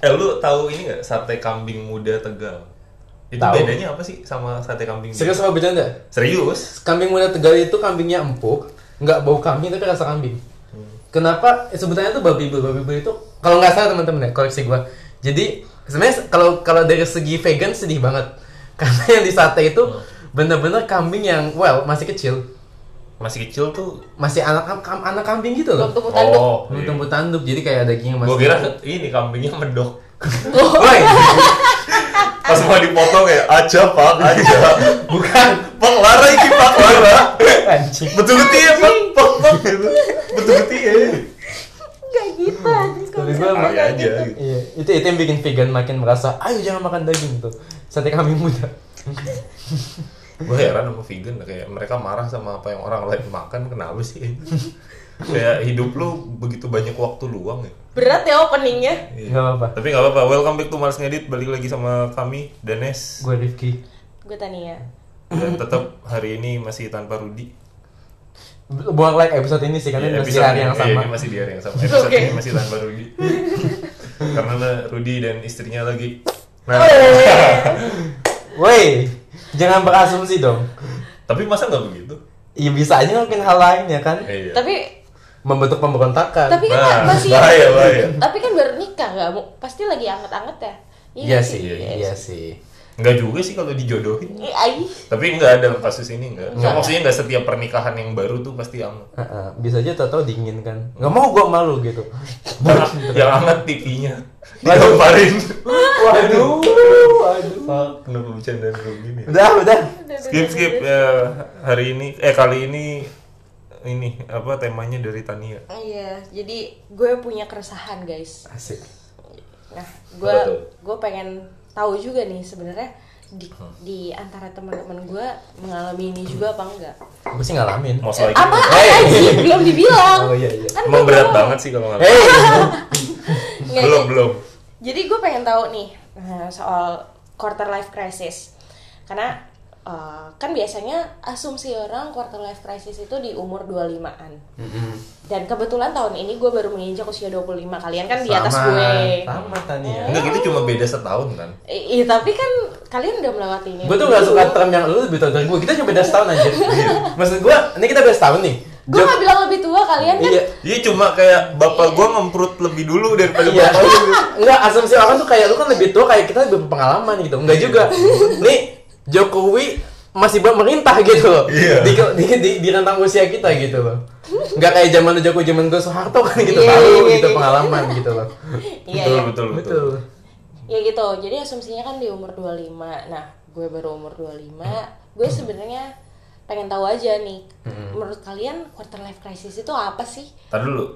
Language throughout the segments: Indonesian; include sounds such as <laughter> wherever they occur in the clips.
Eh lu tahu ini nggak sate kambing muda Tegal? Itu Tahu. bedanya apa sih sama sate kambing? Serius sama bercanda? Serius? Kambing muda Tegal itu kambingnya empuk, nggak bau kambing tapi rasa kambing. Kenapa? eh, Sebutannya tuh babi bul, babi bul itu kalau nggak salah teman-teman ya, koreksi gua. Jadi sebenarnya kalau kalau dari segi vegan sedih banget <laughs> karena yang di sate itu bener-bener kambing yang well masih kecil, Masih kecil tuh. masih anak kam- anak kambing gitu Belum loh. tumbuh tanduk. Oh. Belum tumbuh tanduk, jadi kayak dagingnya masih. Gue iya. <laughs> kira ini kambingnya mendok. Woi, <laughs> Pas mau dipotong ya, aja pak, aja. <laughs> bukan Pak Lara ini Pak Lara. anjing. Betul betul ya pak, pak pak gitu. Betul betul ya. Gak gitu anjing Tapi gua Kali aja. gitu. Iya, itu itu yang bikin vegan makin merasa, ayo jangan makan daging tuh. Sate kambing muda. Gue heran sama vegan kayak mereka marah sama apa yang orang lain makan kenapa <laughs> sih? kayak hidup lu begitu banyak waktu luang ya. Berat ya openingnya Iya. Gak apa-apa. Tapi nggak apa-apa. Welcome back to Mars Ngedit. Balik lagi sama kami Danes. Gue Rifki. Gue Tania Dan tetap hari ini masih tanpa Rudi. Bu- Buang like episode ini sih, karena Iya, ini masih episode hari yang ini- iya, sama. ini masih di hari yang sama. Episode Oke. ini masih tanpa Rudi. Karena lah Rudi dan istrinya lagi. Nah, Weh. Woi, jangan berasumsi dong. <laughs> tapi masa nggak begitu? Iya bisa aja ngelakuin hal lain ya kan, Iya. Tapi membentuk pemberontakan. Tapi kan Nah, masih bahaya, bahaya. Tapi kan baru nikah gak mau Pasti lagi anget-anget ya iya nggak sih, iya, iya, Iya sih. nggak juga sih kalau dijodohin. Ih, ai. Tapi nggak dalam kasus ini nggak. Nggak. Maksudnya nggak setiap pernikahan yang baru tuh pasti anget. Heeh, bisa aja tau-tau dingin kan. Nggak mau gua malu <laughs> gitu. yang anget TV-nya Waduh. digamparin. Waduh, waduh. Pak, kenapa bercandaan lu gini? Udah, udah. skip skip ya hari ini eh kali ini ini apa temanya dari Tania Iya Jadi gue punya keresahan guys Asik. Nah, Apa tuh? gue gue pengen tahu juga nih sebenarnya di, Hmm. di antara teman-teman gue mengalami ini juga apa enggak? Gue sih ngalamin. most Eh, likely apa anjing? belum dibilang. Oh, iya, iya. Kan emang gua berat belum. Eh, banget sih kalau nggak Hey, Nggak, belum jadi- belum Jadi gue pengen tahu nih eh, soal quarter life crisis. Karena eh, kan biasanya asumsi orang quarter life crisis itu di umur 25-an. Dan kebetulan tahun ini gue baru menginjak usia 25. Kalian kan di atas gue. Oh, Sama Tania. enggak kita cuma beda setahun kan I- Iya, tapi kan kalian udah melewati ini. Gue tuh gak suka term yang lu lebih tua dari gue. Kita cuma beda setahun aja. Iya. Maksud gue, ini kita beda setahun nih. Gue gak bilang lebih tua kalian kan Iya. iya cuma kayak bapak gua ngemprut lebih dulu daripada Iya. bapak lu Enggak asumsi orang tuh kayak lu kan lebih tua kayak kita lebih pengalaman gitu. Enggak Iya. juga. Nih Jokowi masih pemerintah gitu loh. Iya. Di, di, di, di rentang usia kita gitu loh. Enggak kayak zaman lu Jokowi zaman gue Soeharto kan gitu Iya, baru iya, gitu iya. pengalaman gitu loh. Iya, betul, iya. betul betul Betul. Ya gitu. Jadi asumsinya kan di umur 25. Nah, gue baru umur 25. Gue sebenarnya pengen tahu aja nih. Menurut kalian quarter life crisis itu apa sih? Tar dulu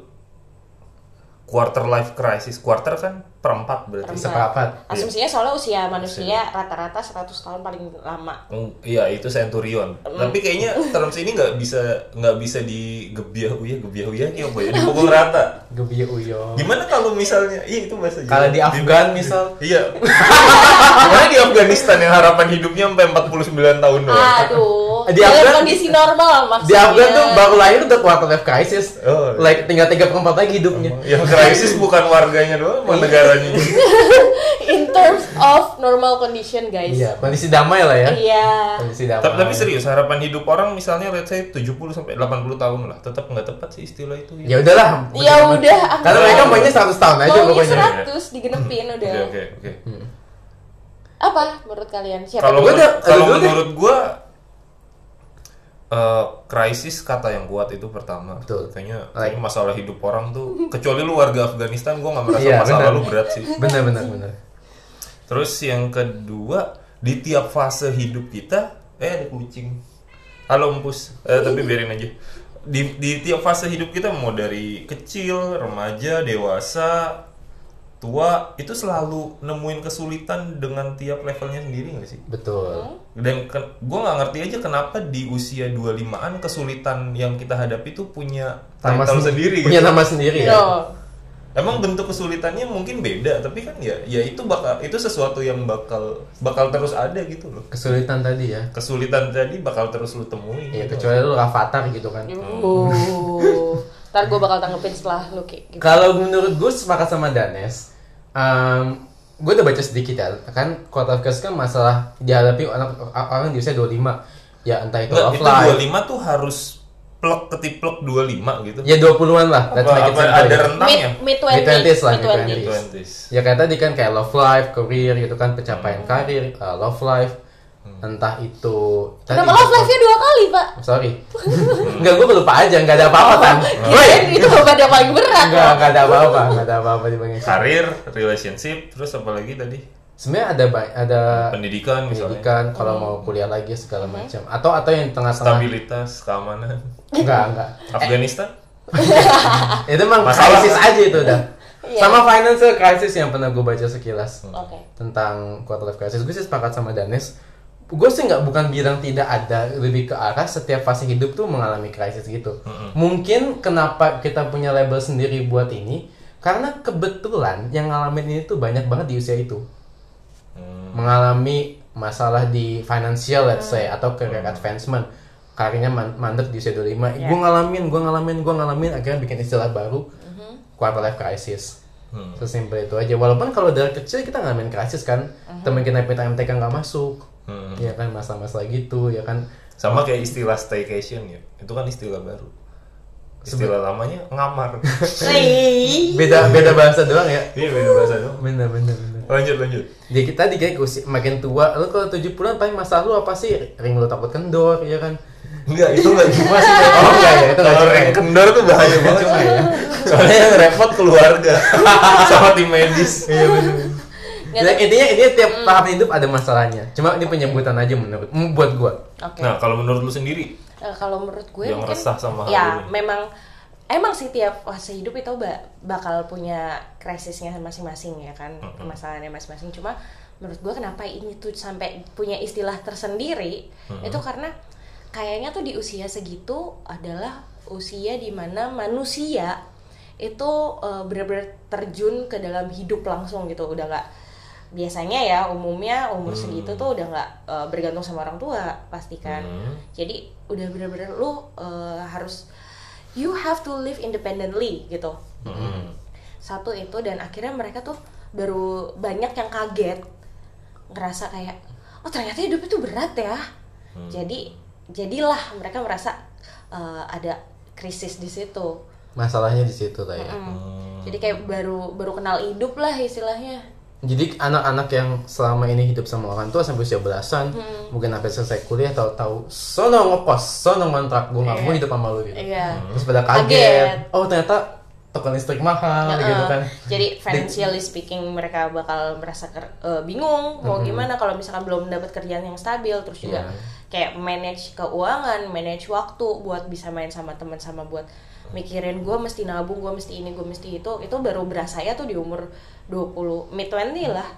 quarter life crisis quarter kan perempat berarti Perempat. Seperempat. Asumsinya soalnya usia manusia rata-rata 100 tahun paling lama. Mm, Iya itu Centurion. Mm. Tapi kayaknya terms ini nggak bisa nggak bisa digebiah uya gebiah uya ya <laughs> boy dipukul rata. Gebiya Uyo. Gimana kalau misalnya, iya itu bahasa Jawa. Kalau di Afgan misal <laughs> Iya. Gimana di Afghanistan yang harapan hidupnya sampai 49 tahun doang? Aduh. Di dalam Afgan- kondisi normal maksudnya. di Afgan tuh Iya. baru lahir udah quarter life crisis. Oh, iya. Like tinggal tiga perempat lagi hidupnya. Yang Ya, krisis bukan warganya doang, Iya. sama negaranya. <laughs> in terms of normal condition, guys. Iya, kondisi damai lah ya. Iya. Kondisi Ta- damai. tapi, serius, harapan hidup orang misalnya let's say 70 sampai 80 tahun lah, tetap nggak tepat sih istilah itu. iya. Ya udahlah. Ya udah, Karena anggap- mereka maunya 100 tahun aja Maunya pokoknya. 100 digenepin Oke, udah. oke, oke. Hmm. Apa menurut kalian? Siapa Kalau Gua menurut- udah- kalau aduh, gua menurut gua eh, krisis kata yang kuat itu pertama. Betul. Kayaknya, Like- kayaknya masalah hidup orang tuh kecuali lu warga Afghanistan gua nggak merasa Iya, masalah benar. lu berat sih. Bener bener bener. Terus yang kedua di tiap fase hidup kita eh ada kucing. Halo empus, Eh, tapi biarin aja. Di, di tiap fase hidup kita mau dari kecil, remaja, dewasa, tua itu selalu nemuin kesulitan dengan tiap levelnya sendiri nggak sih? Hmm? Betul. Dan ke, gue nggak ngerti aja kenapa di usia 25-an kesulitan yang kita hadapi tuh punya title sen- sendiri gitu. Punya nama sendiri ya. No. Emang bentuk kesulitannya mungkin beda, tapi kan ya ya itu bakal itu sesuatu yang bakal bakal terus ada gitu loh. Kesulitan tadi ya. Kesulitan tadi bakal terus lu temuin. Ya gitu. kecuali lu Rafathar gitu kan. Iya. Uh. Yuh. Ntar gue bakal tanggepin setelah lu Ki. Gitu. Kalau menurut gue sepakat sama Danes, gue udah baca sedikit ya kan quarter life crisis kan masalah dihadapi anak orang di usia 25 ya entah itu Enggak, love Nah, itu life 25 tuh harus plek ketiplek 25 gitu. ya 20-an lah apa, apa iya. ada ya? rentangnya? mid Mid-twenties ya? lah, mid-twenties. mid-twenties. 20s. ya kayak tadi kan kayak love life career gitu kan Hmm. pencapaian karir uh, love life entah itu tadi Kenapa love itu- life-nya dua kali, Pak? sorry <laughs> nggak gue lupa aja nggak ada apa-apa kan Oh, gitu. Kirain itu beban yang paling berat. nggak nggak ada apa-apa nggak ada apa-apa di Karir, relationship, terus apa lagi tadi? sebenarnya ada ba- ada Pendidikan misalnya. Hmm. Iya. pendidikan kalau mau kuliah lagi segala macam atau atau yang tengah-tengah Stabilitas, Eh. keamanan. enggak enggak Afghanistan? itu emang Masalah. krisis aja itu udah Iya. sama financial crisis yang pernah gue baca sekilas Oke. tentang quarter life crisis gue sih sepakat sama Danes gue sih nggak bukan bilang tidak ada lebih ke arah setiap fase hidup tuh mengalami krisis gitu mungkin kenapa kita punya label sendiri buat ini karena kebetulan yang ngalamin ini tuh banyak banget di usia itu mengalami masalah di financial let's say atau career advancement karirnya man- mandek di usia 25 gue ngalamin gue ngalamin gue ngalamin akhirnya bikin istilah baru quarter life crisis sesimpel itu aja walaupun kalau dari kecil kita ngalamin krisis kan temen kita yang minta MTK nggak masuk Hmm. ya kan masa-masa gitu ya kan Sama kayak istilah staycation ya. Itu kan istilah baru. Istilah lamanya ngamar. <laughs> Wih. beda beda bahasa doang ya Iya beda bahasa dong. bener bener bener Lanjut lanjut. Jadi kita dikira usia- makin tua, lu kalau 70-an paling masalah lu apa sih? Ring lu takut kendor, ya kan? Enggak, itu enggak cuma sih. Oh enggak ya, itu enggak Kalau cuma reng ya. kendor tuh bahaya banget Cuma ya. Soalnya <laughs> yang repot <laughs> keluarga sama tim medis. Iya Ya, intinya ini tiap Mm. tahap hidup ada masalahnya. Cuma ini penyebutan aja menurut mm, buat gua. Oke. Nah, kalau menurut lu sendiri, Eh, kalau menurut gue Yang mungkin resah sama hal ya ini. memang emang sih tiap fase hidup itu ba- bakal punya krisisnya masing-masing ya kan masalahnya masing-masing cuma menurut gue kenapa ini tuh sampai punya istilah tersendiri itu karena kayaknya tuh di usia segitu adalah usia dimana manusia itu eh, bener-bener terjun ke dalam hidup langsung gitu udah nggak biasanya ya umumnya Mm. umur segitu tuh udah nggak eh, bergantung sama orang tua pastikan Hmm. jadi udah bener-bener lu eh, harus you have to live independently gitu hmm. satu itu dan akhirnya mereka tuh baru banyak yang kaget ngerasa kayak oh ternyata hidup itu berat ya jadi jadilah mereka merasa eh, ada krisis di situ Masalahnya di situ lah ya. Mm. jadi kayak baru baru kenal hidup lah istilahnya Jadi anak-anak yang selama ini hidup sama orang tua sampai usia belasan, Mm. mungkin sampai selesai kuliah tahu-tahu sono ngekos, sono ngontrak, gua nggak mau hidup sama lu gitu. Iya. Terus pada kaget. Kaget. Oh, ternyata token listrik mahal Heeh. gitu kan. Jadi ya. financially speaking mereka bakal merasa ker- eh, bingung mau gimana kalau misalkan belum dapat kerjaan yang stabil terus juga Iya. kayak manage keuangan, manage waktu buat bisa main sama teman sama buat mikirin gue mesti nabung, gue mesti ini, gue mesti itu. Itu baru berasanya tuh di umur 20 mid 20 lah.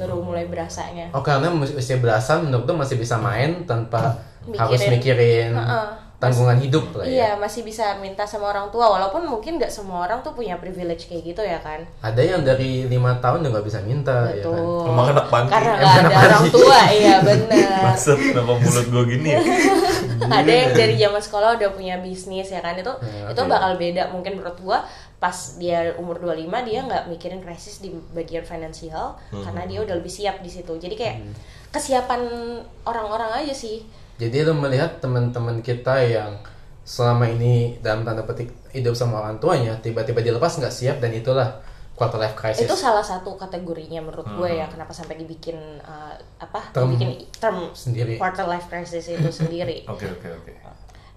Baru mulai berasanya. Oh karena mus- usia belasan menurut gue masih bisa main tanpa Mikirin. harus mikirin Heeh. tanggungan hidup lah ya. Iya, masih bisa minta sama orang tua walaupun mungkin nggak semua orang tuh punya privilege kayak gitu ya kan. Ada yang dari lima tahun udah nggak bisa minta ya Iya, kan. Betul. Emang anak panti. Karena Emang nggak ada orang tua, iya benar. Maksud kenapa mulut gue gini ya? <laughs> ada yang dari zaman sekolah udah punya bisnis ya kan itu Ya, itu Hmm. oke. bakal beda mungkin menurut gua pas dia umur 25 dia nggak mikirin krisis di bagian finansial Hmm. karena dia udah lebih siap di situ jadi kayak kesiapan orang-orang aja sih Jadi lo melihat teman-teman kita yang selama ini dalam tanda petik hidup sama orang tuanya tiba-tiba dilepas nggak siap dan itulah quarter life crisis. itu salah satu kategorinya menurut gue ya kenapa sampai dibikin uh, Hmm. apa Term. dibikin term Sendiri. quarter life crisis <laughs> itu sendiri Oke oke oke.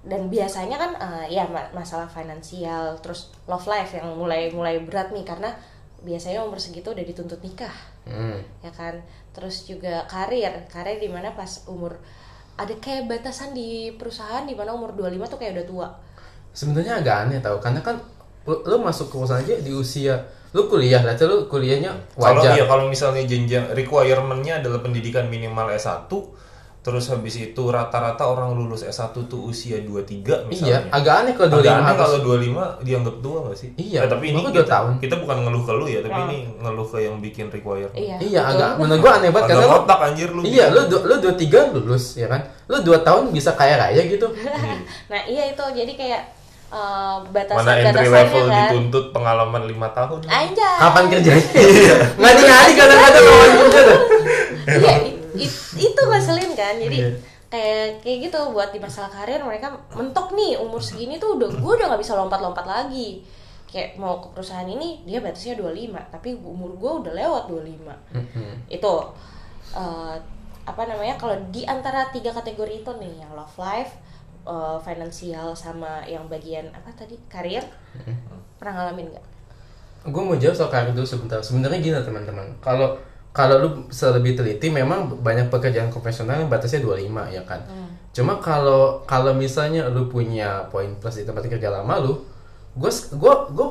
dan biasanya kan eh, ya ma- masalah finansial terus love life yang mulai mulai berat nih karena biasanya umur segitu udah dituntut nikah Hmm. ya kan terus juga karir karir dimana pas umur ada kayak batasan di perusahaan di mana umur 25 tuh kayak udah tua Sebenarnya agak aneh tau karena kan lo, lo masuk ke perusahaan aja di usia lo kuliah, lah lo kuliahnya Kalau wajar. iya kalau misalnya jenjang requirement-nya adalah pendidikan minimal S1 terus habis itu rata-rata orang lulus S1 tuh usia 23 Iya, misalnya. agak aneh kalau 25 Agak aneh harus- kalau 25 dianggap tua gak sih? Iya, Eh, tapi ini baru dua kita, tahun. kita bukan ngeluh ke lu ya, tapi ini ngeluh ke yang bikin requirement. iya Iya betul. agak menurut gua aneh banget Agak karena lu- otak anjir lu. Iya lu du- lu dua <laughs> tiga lulus ya kan, lu dua tahun bisa kaya raya gitu. nah iya itu jadi kayak eh, Hmm. Mana batasan entry batasannya level kan dituntut pengalaman lima tahun. Anjay. Kapan kerjanya? Iya. Nggak nyari kadang-kadang mau kerja tuh. Iya, i- i- itu ngeselin kan. Jadi Iya. kayak kayak gitu buat di masalah karir mereka mentok nih umur segini tuh udah gue udah nggak bisa lompat-lompat lagi. Kayak mau ke perusahaan ini dia batasnya 25, tapi umur gue udah lewat 25. Mm-hmm. Itu eh, apa namanya kalau di antara tiga kategori itu nih yang love life, eh, financial sama yang bagian apa tadi karir Mm-hmm. pernah ngalamin nggak? <laughs> gue mau jawab soal karir dulu sebentar sebenarnya gini lah, teman-teman kalau kalau lu bisa lebih teliti memang banyak pekerjaan konvensional yang batasnya 25 ya kan cuma kalau kalau misalnya lu punya poin plus di tempat kerja lama lu gue gue gue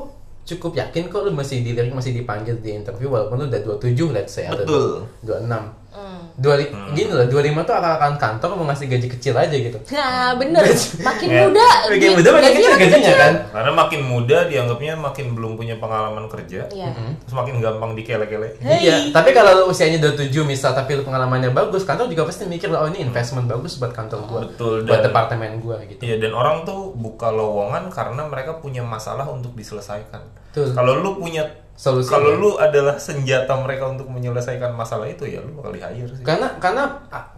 cukup yakin kok lu masih dilirik masih dipanggil di interview walaupun lu udah 27 let's say Betul. atau 26 dua li- gini lah 25 tuh akan kantor mau ngasih gaji kecil aja gitu Nah <laughs> bener, makin Ya. muda, Iya. Makin duit- muda makin gajinya kecil gajinya kan Karena makin muda dianggapnya makin belum punya pengalaman kerja. Iya. Mm-hmm. Terus makin gampang dikele-kele. Hey. Iya, tapi kalau lu usianya 27 misal tapi lu pengalamannya bagus, kantor juga pasti mikir lah, oh ini investment bagus buat kantor gua. Betul, buat dan- departemen gua gitu. Iya dan orang tuh buka lowongan karena mereka punya masalah untuk diselesaikan. Betul. ya. Kalau lu punya Solusinya. kalau lu adalah senjata mereka untuk menyelesaikan masalah itu ya lu bakal di hire sih. Karena karena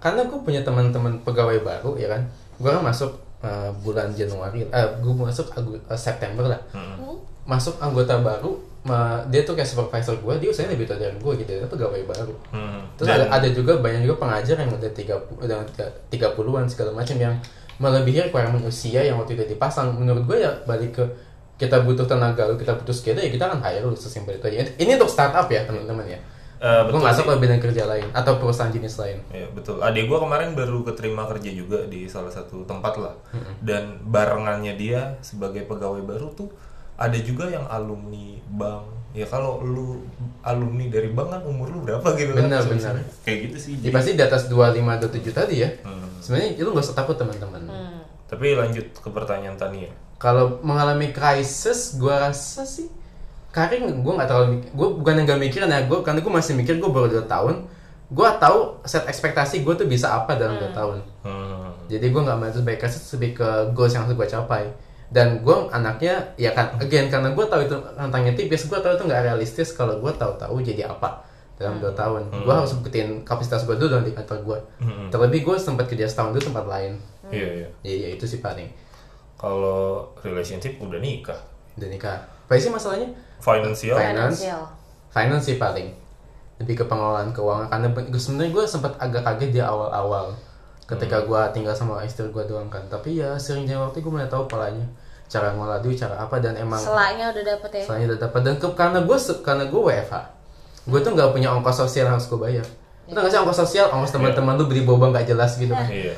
karena gua punya teman-teman pegawai baru ya kan. Gua kan masuk eh, bulan Januari, eh gua masuk Agu- eh, September lah. Hmm. Masuk anggota baru, eh, dia tuh kayak supervisor gua, dia usianya lebih tua dari gua gitu, dia pegawai baru. Hmm. Terus ada, ada juga banyak juga pengajar yang udah 30 udah 30-an segala macam yang melebihi requirement usia yang waktu itu dipasang. Menurut gue ya balik ke kita butuh tenaga lu, kita butuh skill ya kita kan hire lu sesimpel itu aja. Ini untuk startup ya teman-teman ya. Eh, gue masuk ke bidang kerja lain atau perusahaan jenis lain. Ya, betul. Adik gua kemarin baru keterima kerja juga di salah satu tempat lah. Dan barengannya dia sebagai pegawai baru tuh ada juga yang alumni bank. Ya kalau lu alumni dari bank kan umur lu berapa gitu kan. Benar, Bisa-bisa. benar. Kayak gitu sih. Ji. Ya pasti di atas 25 atau 7 tadi ya. Hmm. Sebenarnya lu gak usah takut teman-teman. Tapi lanjut ke pertanyaan ya. Tania. Kalau mengalami krisis, gue rasa sih karir gue nggak terlalu gue bukan yang gak mikirin ya gue karena gue masih mikir gue baru 2 tahun gue tahu set ekspektasi gue tuh bisa apa dalam 2 tahun Hmm. jadi gue nggak main sebagai krisis lebih ke goals yang harus gue capai dan gue anaknya ya kan again karena gue tahu itu tantangannya tipis gue tahu itu nggak realistis kalau gue tahu-tahu jadi apa dalam 2 tahun gue harus buktiin kapasitas gue dulu di kantor gue terlebih gue sempat kerja setahun dulu tempat lain Iya, iya. jadi ya itu sih paling Kalau relationship udah nikah. dan nikah apa sih masalahnya Financial Fin- Finance. Financial. finance sih paling lebih ke pengelolaan keuangan karena ben- gue sebenarnya gue sempat agak kaget di awal-awal ketika gua tinggal sama istri gua doang kan tapi ya sering jalan waktu gue mulai tahu polanya cara ngolah duit cara apa dan emang Selaknya udah dapet ya. selain udah dapat dan ke, karena gue karena gue WFH gue tuh nggak punya ongkos sosial yang harus gue bayar Lu tau nggak sih ongkos sosial ongkos teman-teman lu beli boba nggak jelas gitu kan Iya.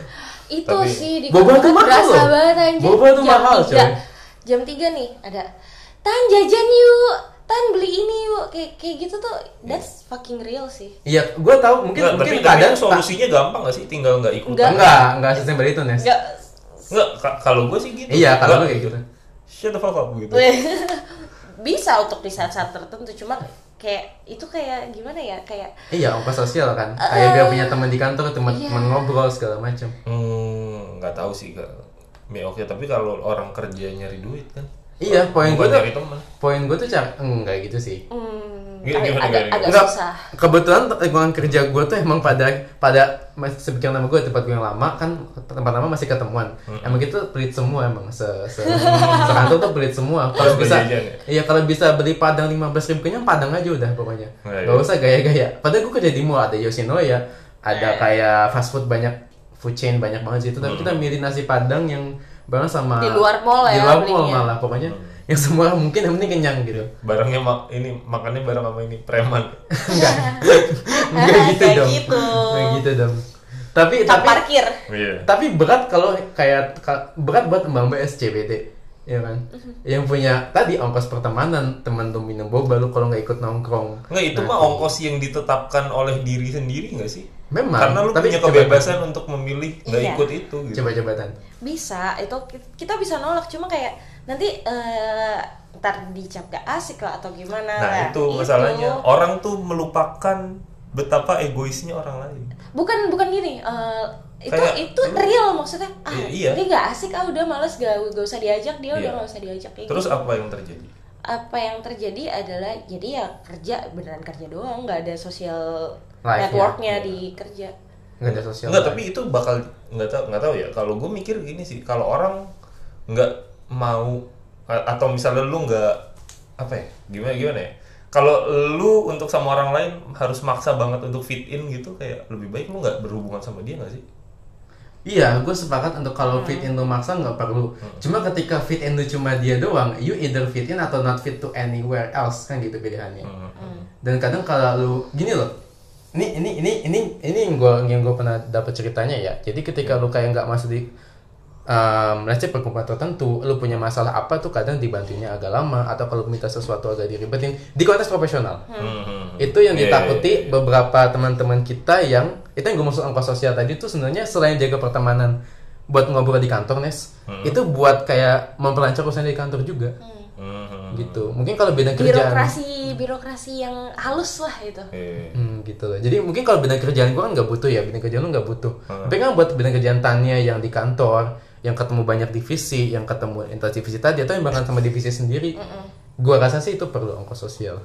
Itu Tapi- sih di Boba tuh kantor mahal berasa loh. banget anjir. Boba tuh mahal, tiga. coy. Jam 3 nih ada Tan jajan yuk, Tan beli ini yuk. Kayak kayak gitu tuh that's fucking real sih. iya gue tahu mungkin Nggak, mungkin tapi, tapi kadang solusinya gampang gak sih tinggal nggak ikut? Nggak. enggak enggak sistem itu nes Enggak Nggak, ka- kalau gue sih gitu. iya kalau lu Nggak. kayak gitu Shut the fuck up gitu. <laughs> bisa untuk di saat-saat tertentu cuma kayak itu kayak gimana ya kayak Iya, ongkos sosial kan. Kayak gak punya teman di kantor, teman-teman ngobrol segala macam. Hmm, nggak tahu sih kak. Ya, oke, tapi kalau orang kerja nyari duit kan. Iya, poin gue Bukan tuh nyari teman. poin gue tuh cara enggak gitu sih. hmm, Gimana, gimana, agak- agak gimana? agak Enggak. susah. Kebetulan lingkungan kerja gue tuh emang pada pada masih sepikiran sama gue tempat gue yang lama kan tempat lama masih ketemuan. Emang gitu pelit semua emang se se sekantor tuh pelit semua. Kalau Harus bisa berjajan ya? iya kalau bisa beli padang 15 ribu kayaknya padang aja udah pokoknya. Nah, Gak iya. usah gaya-gaya. Padahal gue kerja di mall ada Yoshinoya, Eh. ada kayak fast food banyak food chain banyak banget sih itu tapi kita milih nasi padang yang bareng sama Di luar mall di ya, luar mall belinya. malah pokoknya yang semua mungkin yang penting kenyang gitu Barangnya mak ini makannya barang sama ini preman. <laughs> Enggak gitu Kayak dong. gitu. Enggak gitu dong. Tapi Tak tapi parkir. Iya. tapi berat kalau kayak ka- berat buat Mbak-mbak SCBD. Ya kan? Mhm. Yang punya tadi ongkos pertemanan, teman lu minum boba lu kalau nggak ikut nongkrong. Nah, Nggak itu mah ongkos yang ditetapkan oleh diri sendiri nggak sih? Memang, Karena lu tapi punya coba- kebebasan untuk memilih nggak Iya. ikut itu. Gitu. Coba-coba Tan. bisa itu ki- kita bisa nolak cuma kayak nanti eh, ntar dicap gak asik lah atau gimana Nah itu masalahnya orang tuh melupakan betapa egoisnya orang lain. bukan bukan gini eh, itu Kayak itu dulu- real maksudnya ah Iya, iya. dia gak asik ah udah males gak, gak usah diajak dia Iya. udah gak usah diajak kayak Terus gitu. apa yang terjadi? apa yang terjadi adalah jadi ya kerja beneran kerja doang nggak ada sosial Life-nya. networknya Iya. di kerja nggak ada sosial Enggak, tapi itu bakal nggak tahu nggak tahu ya. Kalau gue mikir gini sih, kalau orang nggak mau a- atau misalnya lu nggak apa ya, gimana gimana ya. Kalau lu untuk sama orang lain harus maksa banget untuk fit in gitu, kayak lebih baik lu nggak berhubungan sama dia nggak sih? Iya, gue sepakat untuk Hmm. kalau fit in lu maksa nggak perlu. Cuma ketika fit in lu cuma dia doang, you either fit in atau not fit to anywhere else kan gitu pilihannya. Hmm. Dan kadang kalau lu gini loh, ini ini ini ini ini yang gue yang gue pernah dapat ceritanya ya. Jadi ketika lu kayak nggak masuk di um, let's say perkumpulan tertentu, lu punya masalah apa tuh kadang dibantunya agak lama atau kalau minta sesuatu agak diribetin di konteks profesional. Hmm, hmm. Itu yang Iya, ditakuti iya, iya. beberapa teman-teman kita yang itu yang gue maksud ongkos sosial tadi tuh sebenarnya selain jaga pertemanan buat ngobrol di kantor Nes, itu buat kayak memperlancar urusan di kantor juga Hmm, hmm. gitu. Mungkin kalau bidang kerjaan birokrasi birokrasi yang halus lah itu Eh, Hmm, gitu loh. Jadi mungkin kalau bidang kerjaan gue kan nggak butuh ya, bidang kerjaan lu nggak butuh. Tapi kan buat bidang kerjaan Tania yang di kantor, yang ketemu banyak divisi, yang ketemu entas divisi tadi atau yang bahkan sama divisi sendiri, gua rasa sih itu perlu ongkos sosial,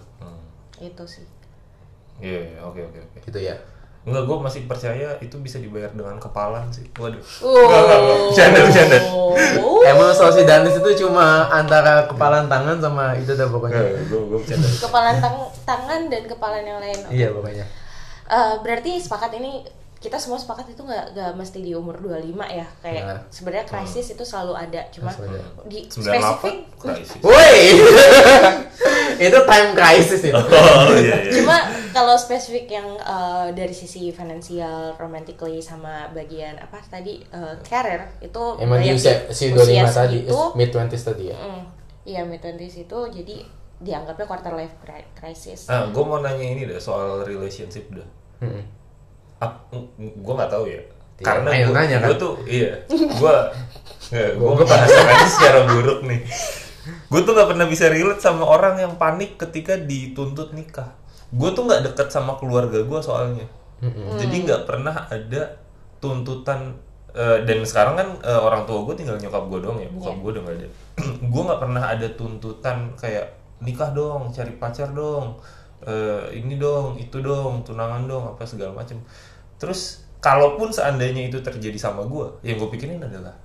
itu sih hmm. Iya, iya, oke oke oke. gitu ya. Enggak, gue masih percaya itu bisa dibayar dengan kepalan sih. Waduh. Oh. Enggak, enggak, enggak. Bercanda, bercanda. Oh. Emang sosidanis itu cuma antara kepalan tangan sama itu dah pokoknya. Gue gue bercanda. kepalan tang- tangan dan kepalan yang lain Iya pokoknya. Eh, berarti sepakat ini kita semua sepakat itu nggak nggak mesti di umur 25 ya kayak Nah. sebenarnya krisis itu selalu ada cuma Selalu ada. di 98 spesifik krisis. Woi, <laughs> itu time crisis itu. Oh iya iya. cuma kalau spesifik yang eh, dari sisi finansial, romantically sama bagian apa tadi eh, career itu Emang di banyak usia, si Iya, di 25 tadi, segitu, mid 20s tadi ya. mm, Iya mid 20s itu jadi dianggapnya quarter life cri- crisis. Ah, gue mau nanya ini deh soal relationship dah. Mm-mm. gue nggak tahu ya. Tidak, Karena ayo gue nanya, kan? tuh iya, gue gue Gua- gua bahas aja secara buruk nih. Gue tuh nggak pernah bisa relate sama orang yang panik ketika dituntut nikah. Gue tuh nggak deket sama keluarga gue soalnya. Jadi nggak pernah ada tuntutan eh, dan sekarang kan eh, orang tua gue tinggal nyokap gue doang ya, bokap gue udah nggak ada. <clears throat> gue nggak pernah ada tuntutan kayak nikah dong, cari pacar dong, eh, ini dong, itu dong, tunangan dong, apa segala macem. Terus kalaupun seandainya itu terjadi sama gue, yang gue pikirin adalah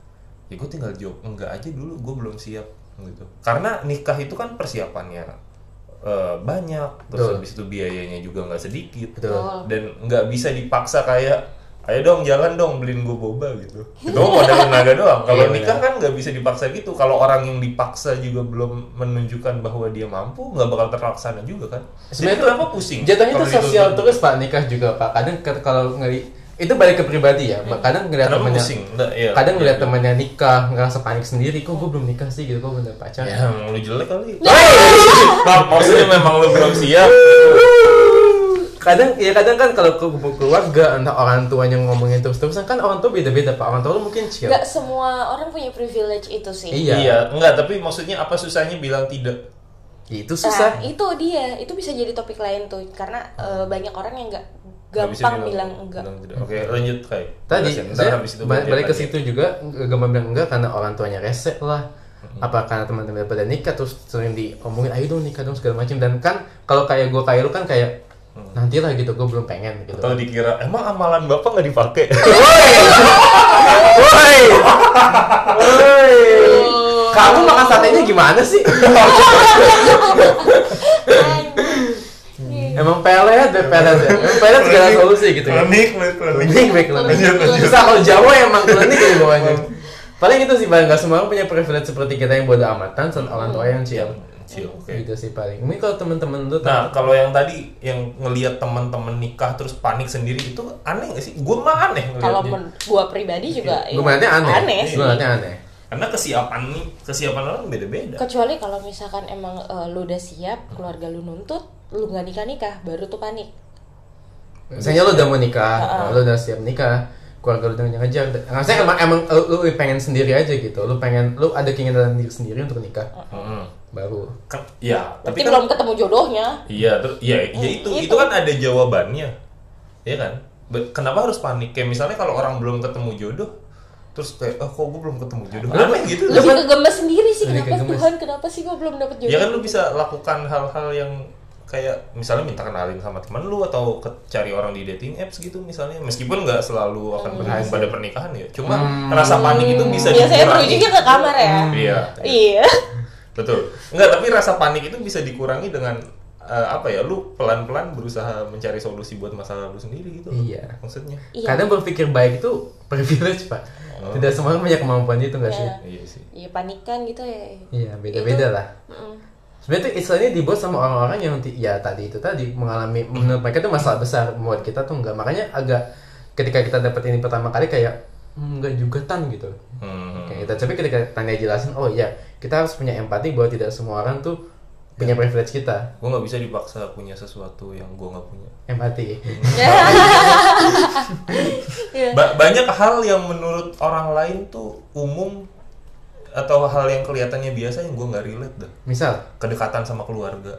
ya gue tinggal jawab enggak aja dulu, gue belum siap gitu. Karena nikah itu kan persiapannya eh, banyak, terus Betul. habis itu biayanya juga nggak sedikit Betul. dan nggak bisa dipaksa kayak ayo dong jalan dong beliin gue boba gitu itu mah modal tenaga <laughs> doang kalau Iya, nikah kan nggak bisa dipaksa gitu kalau orang yang dipaksa juga belum menunjukkan bahwa dia mampu nggak bakal terlaksana juga kan jadi Sebenarnya tuh kenapa pusing kalau Jatuhnya tuh sosial dituntut? terus pak nikah juga pak. Kadang ke- kalau ngeli itu balik ke pribadi ya. Mm. Pak. Kadang ngeliat kenapa temennya, pusing Nggak, iya. kadang Iya, ngeliat iya. temennya nikah ngerasa panik sendiri. Kok gue belum nikah sih gitu. Kok belum dapet pacar. ya emang lu jelek <laughs> kali Maaf, maksudnya memang lu belum siap <laughs> Kadang ya kadang kan kalau ke kumpul keluarga entah orang tuanya ngomongin terus terusan kan orang tua beda beda pak. Orang tua lu mungkin chill. Nggak semua orang punya privilege itu sih. Iya. iya enggak tapi maksudnya apa susahnya bilang tidak Ya, itu Nah, susah. itu dia, itu bisa jadi topik lain tuh karena eh, banyak orang yang nggak Nggak bisa gampang bilang enggak. bilang gitu. tidak. oke lanjut kayak Tadi saya ba- balik ke situ situ juga gampang bilang enggak karena orang tuanya rese lah. Apa karena teman-teman pada nikah terus sering diomongin ayo dong nikah dong segala macam dan kan kalau kayak gue kayak lu kan kayak nanti lah gitu gue belum pengen gitu. atau dikira emang amalan bapak nggak dipakai <laughs> Woi. Woi. Kamu makan satenya gimana sih? Iya, Emang pelet deh pelet ya. Emang pelet segala solusi gitu ya. klinik klinik Klinik baik klinik. Lanjut, lanjut. Susah kalau Jawa emang klinik <laughs> ya bawahnya. Paling itu sih paling nggak semua orang punya privilege seperti kita yang bodo amatan dan orang tua yang chill. Chill, oke. Gitu sih paling. Mungkin kalau temen-temen lu Nah, kalau yang tadi yang ngelihat teman-teman nikah terus panik sendiri itu aneh gak sih? Gue mah aneh Kalau ngeliatnya. men- gua pribadi Iya. juga iya. gue melihatnya aneh. aneh sih. Gue melihatnya aneh. Karena kesiapan nih, kesiapan orang beda-beda. kecuali kalau misalkan emang eh, lu udah siap keluarga lu nuntut lu nggak nikah nikah baru tuh panik Misalnya lu udah mau nikah, Iya. nah, lu udah siap nikah, keluarga lu udah ngejar. Rasanya emang emang lu, lu pengen sendiri aja gitu. Lu pengen lu ada keinginan diri sendiri untuk nikah. Iya. Heeh. Baru. Hmm. Ke- ya, tapi tapi kan belum ketemu jodohnya iya, ter- ya, ya itu, Hmm, itu itu. kan ada jawabannya. Iya kan? Be- kenapa harus panik kayak misalnya kalau orang belum ketemu jodoh terus kayak oh kok gue belum ketemu jodoh Lu- aneh gitu lebih ke gemes sendiri sih Lebih kenapa kegemes. Tuhan kenapa sih gue belum dapet jodoh ya kan lu bisa lakukan hal-hal yang kayak misalnya minta kenalin sama temen lu atau ke- cari orang di dating apps gitu misalnya meskipun nggak selalu akan berujung pada pernikahan ya cuma rasa panik itu bisa biasanya dikurangi berujungnya ke kamar ya iya iya betul nggak tapi rasa panik itu bisa dikurangi dengan eh, apa ya lu pelan-pelan berusaha mencari solusi buat masalah lu sendiri gitu loh. Iya. maksudnya Iya. Kadang berpikir baik itu <laughs> privilege, Pak. Tidak semua orang punya kemampuan itu enggak sih? Iya. iya sih iya panikan gitu ya Iya, beda-beda Itu- lah. Mm-mm. Sebenarnya tuh istilahnya dibuat sama orang-orang yang ti- ya tadi itu tadi mengalami menurut mereka itu masalah besar buat kita tuh enggak. Makanya agak ketika kita dapet ini pertama kali kayak "Hmm, enggak juga tan gitu. Hmm. Kayak gitu. Tapi ketika tanya jelasin, oh iya, kita harus punya empati bahwa tidak semua orang tuh punya privilege kita. gue nggak bisa dipaksa punya sesuatu yang gue nggak punya Empati. Iya. Ba- banyak hal yang menurut orang lain tuh umum atau hal yang kelihatannya biasa yang gue nggak relate dah Misal, kedekatan sama keluarga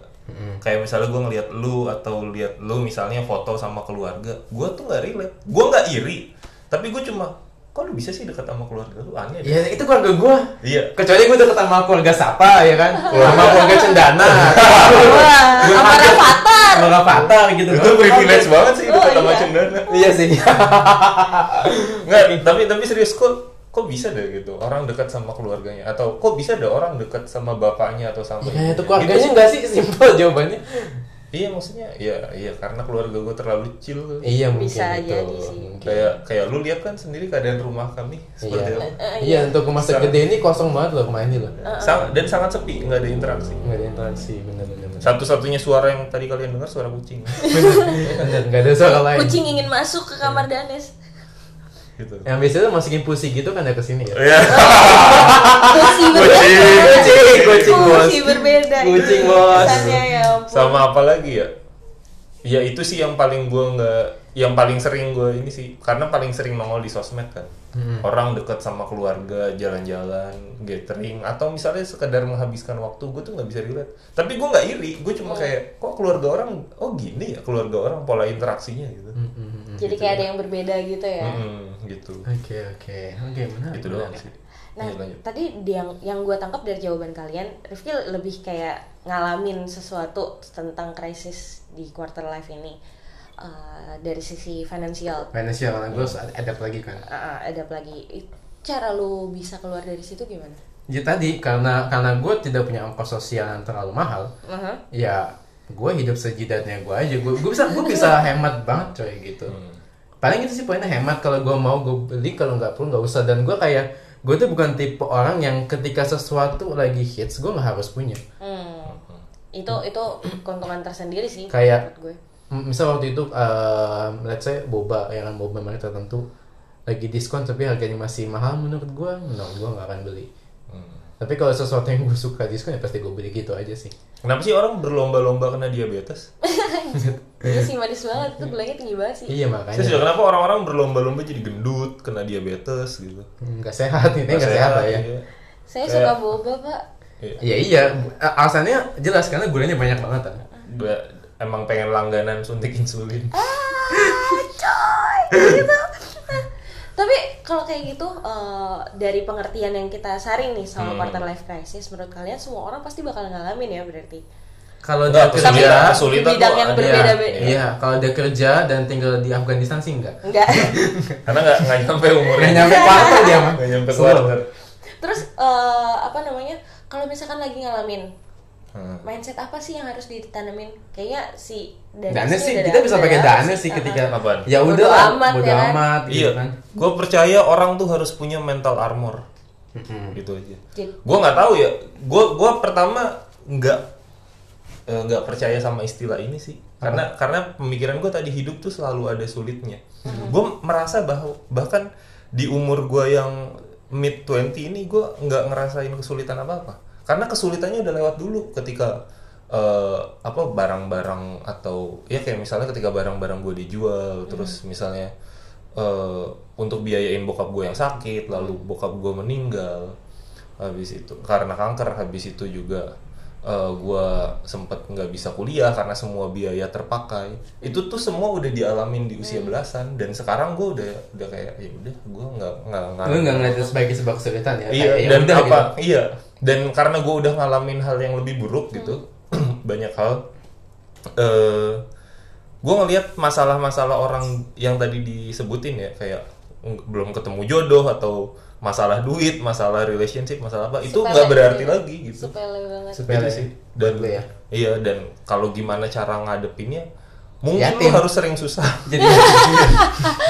kayak misalnya gue ngelihat lu atau lihat lu misalnya foto sama keluarga gue tuh nggak relate gue nggak iri tapi gue cuma kok lu bisa sih dekat sama keluarga lu aneh deh. ya itu keluarga gua. iya Kecuali gue deket sama keluarga Sapa ya kan Sama keluarga Cendana <laughs> Gua- sama Rafathar. Sama Rafathar gitu itu privilege banget sih dekat Oh, sama iya. cendana Iya sih <laughs> Nggak, Iya. tapi tapi serius kok kok bisa deh gitu orang dekat sama keluarganya atau kok bisa ada orang dekat sama bapaknya atau sama Ya ibunya? Gitu itu Gitu keluarganya enggak sih simpel jawabannya Iya maksudnya ya iya karena keluarga gue terlalu chill Iya mungkin Bisa itu jadi sih. mungkin. kayak kayak lu lihat kan sendiri keadaan rumah kami Iya seperti apa Eh, Iya untuk rumah segede ini kosong banget loh rumah ini loh Sang- dan sangat sepi nggak ada interaksi Nggak ada interaksi bener-bener satu-satunya suara yang tadi kalian dengar suara kucing Bener <laughs> nggak ada suara lain kucing ingin masuk ke kamar Danes gitu Yang biasanya tuh masukin pusi gitu kan ada kesini ya Iya. kucing berbeda Kucing, kucing bos kucing berbeda Kucing, bos. Kesannya, ya ampun. sama apa lagi ya ya itu sih yang paling gue nggak yang paling sering gue ini sih karena paling sering nongol di sosmed kan orang dekat sama keluarga jalan-jalan gathering atau misalnya sekedar menghabiskan waktu gue tuh nggak bisa relate tapi gue nggak iri gue cuma kayak kok keluarga orang oh gini ya keluarga orang pola interaksinya gitu Mm, jadi kayak ada yang berbeda gitu ya Mm-mm, gitu Oke oke Oke benar itu Gitu doang sih Nah, Lanjut, lanjut. tadi yang yang gue tangkap dari jawaban kalian, Rifki lebih kayak ngalamin sesuatu tentang krisis di quarter life ini Eh, dari sisi finansial. Financial karena gue harus adapt lagi kan ada lagi cara lu bisa keluar dari situ gimana? Ya tadi karena karena gue tidak punya ongkos sosial yang terlalu mahal, Aha. ya gue hidup sejidatnya gue aja. Gue gue bisa gue bisa hemat banget coy gitu. Paling itu sih poinnya hemat kalau gue mau gue beli kalau nggak perlu nggak usah dan gue kayak gue tuh bukan tipe orang yang ketika sesuatu lagi hits gue nggak harus punya. Hmm. Itu itu keuntungan tersendiri sih Kayak- menurut gue. M- Misal waktu itu, eh let's say boba ya kan boba merek tertentu lagi diskon tapi harganya masih mahal menurut gue, no gue nggak akan beli. Hmm. Tapi kalau sesuatu yang gue suka diskon ya pasti gue beli gitu aja sih. kenapa sih orang berlomba-lomba kena diabetes Iya sih manis banget Hmm. itu bilangnya tinggi banget sih. Iya makanya. saya sudah kenapa orang-orang berlomba-lomba jadi gendut kena diabetes gitu nggak sehat ini nggak sehat lah ya iya. Saya Kayak- suka boba, Pak. Iya. ya iya A- alasannya jelas karena gulanya banyak banget kan Gua emang pengen langganan suntik insulin. Ah, coy gitu tapi kalau kayak gitu eh, dari pengertian yang kita saring nih sama Hmm. quarter life crisis menurut kalian semua orang pasti bakal ngalamin ya berarti kalau dia Enggak, kerja kesulitan, iya kesulitan bidang tuh yang ada. berbeda. iya kalau dia kerja dan tinggal di Afghanistan sih enggak <laughs> enggak Karena nggak nggak nyampe umurnya. nggak nyampe kuarter dia mah Nggak nyampe Slow. kuarter. terus eh, apa namanya kalau misalkan lagi ngalamin Hmm. mindset apa sih yang harus ditanamin kayaknya si Danes dana ini sih udah kita dapet- bisa udah pakai dapet dana sih Uh-huh. ketika Apaan? ya Bodo udah amat, bodo ya kan? amat gitu Iya, kan gue percaya orang tuh harus punya mental armor, gitu aja. Jadi- Gue nggak tahu ya. Gue gua pertama nggak eh, nggak percaya sama istilah ini sih. Karena karena pemikiran gue tadi hidup tuh selalu ada sulitnya. Gue merasa bahwa bahkan di umur gue yang mid 20 ini gue nggak ngerasain kesulitan apa apa. Karena kesulitannya udah lewat dulu ketika eh, apa barang-barang atau ya kayak misalnya ketika barang-barang gue dijual terus misalnya eh, untuk biayain bokap gue yang sakit lalu bokap gue meninggal habis itu karena kanker habis itu juga eh, gua sempet nggak bisa kuliah karena semua biaya terpakai itu tuh semua udah dialamin di usia Hmm. belasan dan sekarang gua udah udah kayak ya udah gua nggak nggak Lu nggak ngeliat itu sebagai sebuah kesulitan iya ya? Kayak, ya dan udah apa gitu. iya dan karena gue udah ngalamin hal yang lebih buruk gitu <clears throat> banyak hal eh gue ngelihat masalah-masalah orang yang tadi disebutin ya kayak ng- belum ketemu jodoh atau masalah duit masalah relationship masalah apa itu Sepele. nggak berarti lagi gitu Sepele banget. Sepele Gitu sih buat dan lu ya. iya dan kalau gimana cara ngadepinnya mungkin Yatim. lu harus sering susah Jadi <laughs>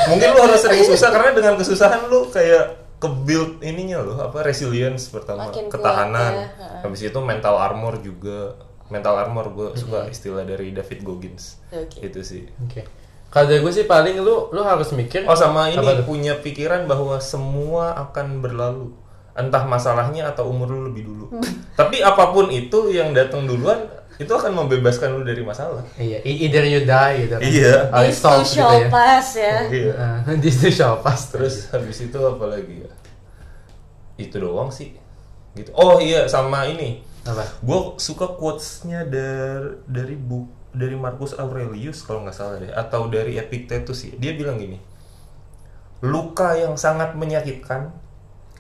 mungkin lu harus sering susah karena dengan kesusahan lu kayak kebuild ininya loh apa resilience pertama Makin kuat ketahanan ya, habis itu mental armor juga mental armor gue suka istilah dari David Goggins Iya. Oke. itu sih Oke. Kalau dari gue sih paling lu lu harus mikir oh sama ini Apa tuh? punya pikiran bahwa semua akan berlalu entah masalahnya atau umur lu lebih <laughs> dulu tapi apapun itu yang datang duluan itu akan membebaskan lu dari masalah Iya, e- either you die gitu. kan. Iya. Or it This too solves gitu shall ya. pass ya. iya Nah, <laughs> this too shall pass. Terus habis itu apa lagi ya? Itu doang sih. Gitu. Oh iya sama ini. apa? Gue suka quotes-nya dari dari buku dari Marcus Aurelius kalau nggak salah deh atau dari Epictetus sih. Dia bilang gini. Luka yang sangat menyakitkan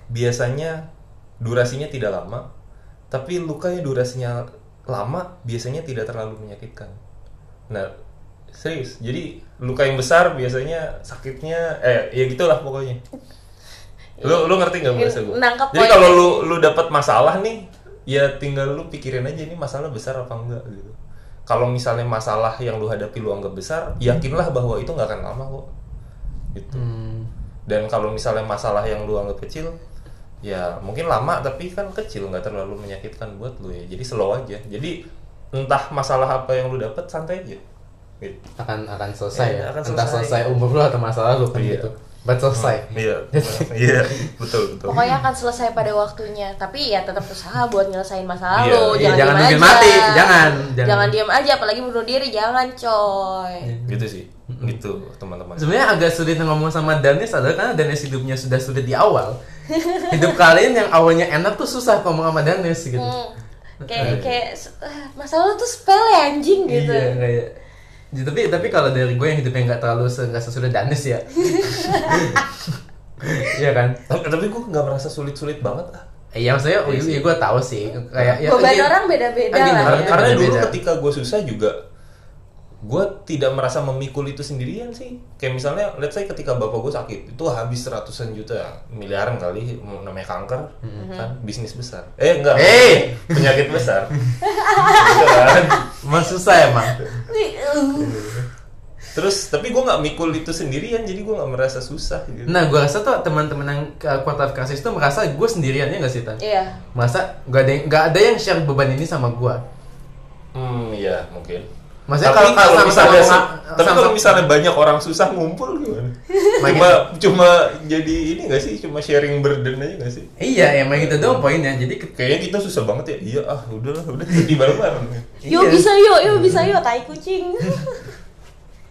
biasanya durasinya tidak lama, tapi luka yang durasinya lama biasanya tidak terlalu menyakitkan. Nah, serius. Jadi luka yang besar biasanya sakitnya eh ya gitulah pokoknya. Lu lu ngerti nggak bahasa gue? Nangkap Jadi poin. kalau lu lu dapat masalah nih, ya tinggal lu pikirin aja ini masalah besar apa enggak gitu. Kalau misalnya masalah yang lu hadapi lu anggap besar, yakinlah bahwa itu nggak akan lama kok. Gitu. Hmm. Dan kalau misalnya masalah yang lu anggap kecil, ya mungkin lama tapi kan kecil nggak terlalu menyakitkan buat lu ya. Jadi slow aja. Jadi entah masalah apa yang lu dapat santai aja. Gitu. akan akan selesai Iya, ya. akan Entah selesai. selesai umur lu atau masalah lu kan Iya. gitu. But selesai. Iya, iya, betul gitu. betul. Pokoknya akan selesai pada waktunya, tapi ya tetap usaha buat nyelesain masalah Iya, lo. iya, Jangan, jangan diem nungguin aja. mati, jangan, jangan. Iya, Jangan diem aja, apalagi bunuh diri, jangan coy. Gitu sih, gitu teman-teman. Sebenarnya agak sulit ngomong sama Danis adalah karena Danis hidupnya sudah sulit di awal. Hidup kalian yang awalnya enak tuh susah ngomong sama Danis gitu. Hmm. Kayak kayak eh, masalah lo tuh sepele anjing gitu. Iya kayak. Ya, tapi tapi kalau dari gue yang hidupnya nggak terlalu se- nggak sesulit Danis ya. Iya kan? Tapi, tapi gue nggak merasa sulit-sulit banget ah. Iya maksudnya iya, iya, gue tahu sih kayak ya, Beban iya. orang beda-beda Ah, gini, lah Karena, ya. karena dulu Beda-beda. ketika gue susah juga gue tidak merasa memikul itu sendirian sih kayak misalnya let's say ketika bapak gue sakit itu habis ratusan juta miliaran kali namanya kanker Mhm. kan bisnis besar eh enggak Hey! penyakit <laughs> besar Gitu kan. Emang susah emang. Ih, uh. terus tapi gue nggak mikul itu sendirian jadi gue nggak merasa susah gitu Nah, gue rasa tuh teman-teman yang ke quarter life crisis tuh merasa gue sendiriannya nggak sih tan? Iya. Masa nggak ada yang nggak ada yang share beban ini sama gue. hmm iya mungkin Maksudnya tapi kalau- kalau kalau sama-sama misalnya nggak- tapi kalau sama-sama- misalnya banyak orang susah ngumpul gimana cuma cuma jadi ini nggak sih cuma sharing burden aja nggak sih Iya, emang gitu doang poinnya. Jadi ke- Kayaknya kita susah banget ya. Iya ah, udahlah, udah di bareng Yo Iya. bisa yo, yo bisa yo, tai <laughs> kucing.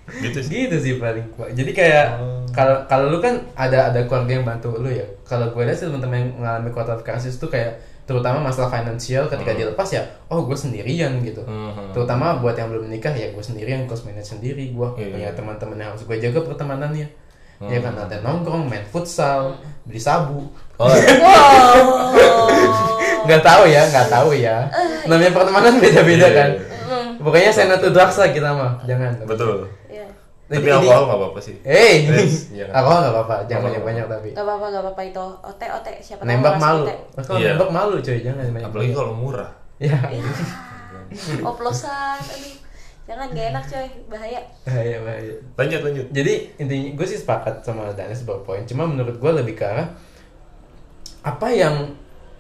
Gitu sih. gitu sih paling gua. Jadi kayak Oh. kalau kalau lu kan ada ada keluarga yang bantu lu ya. Kalau gue lihat sih teman-teman yang mengalami quarter life crisis tuh kayak terutama masalah finansial ketika Hmm. dilepas ya, oh gue sendirian gitu. Mhm. Terutama buat yang belum menikah ya gue sendirian, gue harus manage sendiri, gue Iya. Hmm. punya teman-teman yang harus gue jaga pertemanannya. Ya kan ada nongkrong, main futsal, beli sabu. Oh, <laughs> Wow. Nggak tahu ya, nggak tahu ya. Namanya pertemanan beda-beda Iya, iya, kan. Pokoknya saya tuh drugs lah kita mah, jangan. betul. Iya. Tapi Ini- alkohol nggak apa-apa sih. Eh, ini <laughs> Yes, iya. aku nggak apa-apa, jangan Nggak banyak-banyak tapi. Gak apa-apa, gak apa-apa itu. Ote, ote, siapa tahu Nembak orang malu, otek. Mas, kalau Iya. nembak malu coy, jangan banyak. Apalagi kalau murah. <laughs> Ya, Oplosan, aduh. Jangan gak enak coy, <laughs> bahaya. bahaya bahaya. Lanjut lanjut. Iya, Jadi intinya gue sih sepakat sama Danis sebuah poin. Cuma menurut gue lebih ke arah apa yang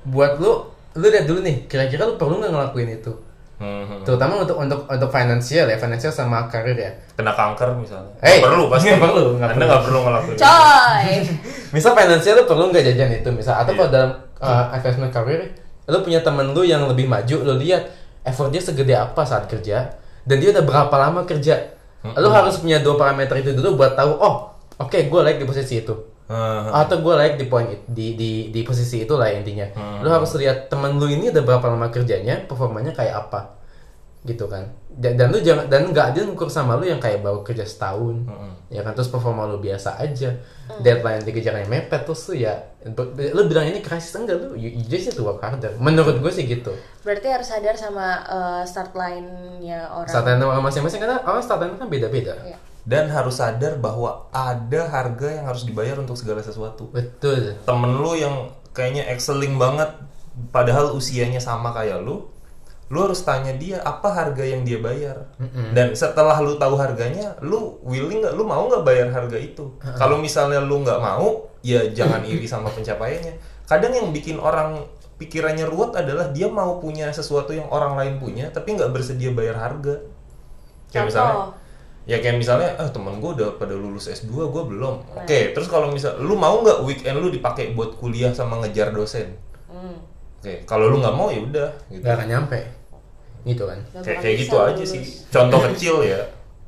buat lu lu lihat dulu nih kira-kira lu perlu nggak ngelakuin itu Mhm. terutama untuk untuk untuk finansial ya finansial sama karir ya Kena kanker misalnya. Hey, Nggak perlu pasti. nggak perlu, nggak Anda perlu. nggak perlu ngelakuin. Coy. misal finansial lu perlu nggak jajan itu misal atau Iya. kalau dalam uh, investment career lu punya temen lu yang lebih maju lu lihat effort dia segede apa saat kerja dan dia udah berapa lama kerja lu harus punya dua parameter itu dulu buat tahu oh oke gue like di posisi itu Heeh. atau gue like di poin it- di di di posisi itu lah intinya lu harus lihat temen lu ini udah berapa lama kerjanya performanya kayak apa gitu kan dan, dan lu jangan dan nggak adil ngukur sama lu yang kayak baru kerja setahun ya kan terus performa lu biasa aja Hmm. deadline dikejarnya mepet terus tuh ya lu bilang ini krisis enggak lu you, you just need to work harder menurut gue sih gitu Berarti harus sadar sama eh, start line-nya orang. startline orang masing-masing karena orang startline kan beda-beda Iya. Dan harus sadar bahwa ada harga yang harus dibayar untuk segala sesuatu. betul Temen lu yang kayaknya excelling banget, padahal usianya sama kayak lu, lu harus tanya dia apa harga yang dia bayar. Dan setelah lu tahu harganya, lu willing nggak, lu mau nggak bayar harga itu? Kalau misalnya lu nggak mau, ya jangan iri sama pencapaiannya. Kadang yang bikin orang pikirannya ruwet adalah dia mau punya sesuatu yang orang lain punya, tapi nggak bersedia bayar harga. Kayak Contoh. misalnya, ya kayak misalnya ah temen gue udah pada lulus S2 gue belum oke Nah. terus kalau misal lu mau nggak weekend lu dipakai buat kuliah sama ngejar dosen Hmm. oke kalau lu nggak mau ya udah gitu nggak akan nyampe gitu kan Gak kayak bakal kayak bisa gitu aja lulus. sih contoh kecil ya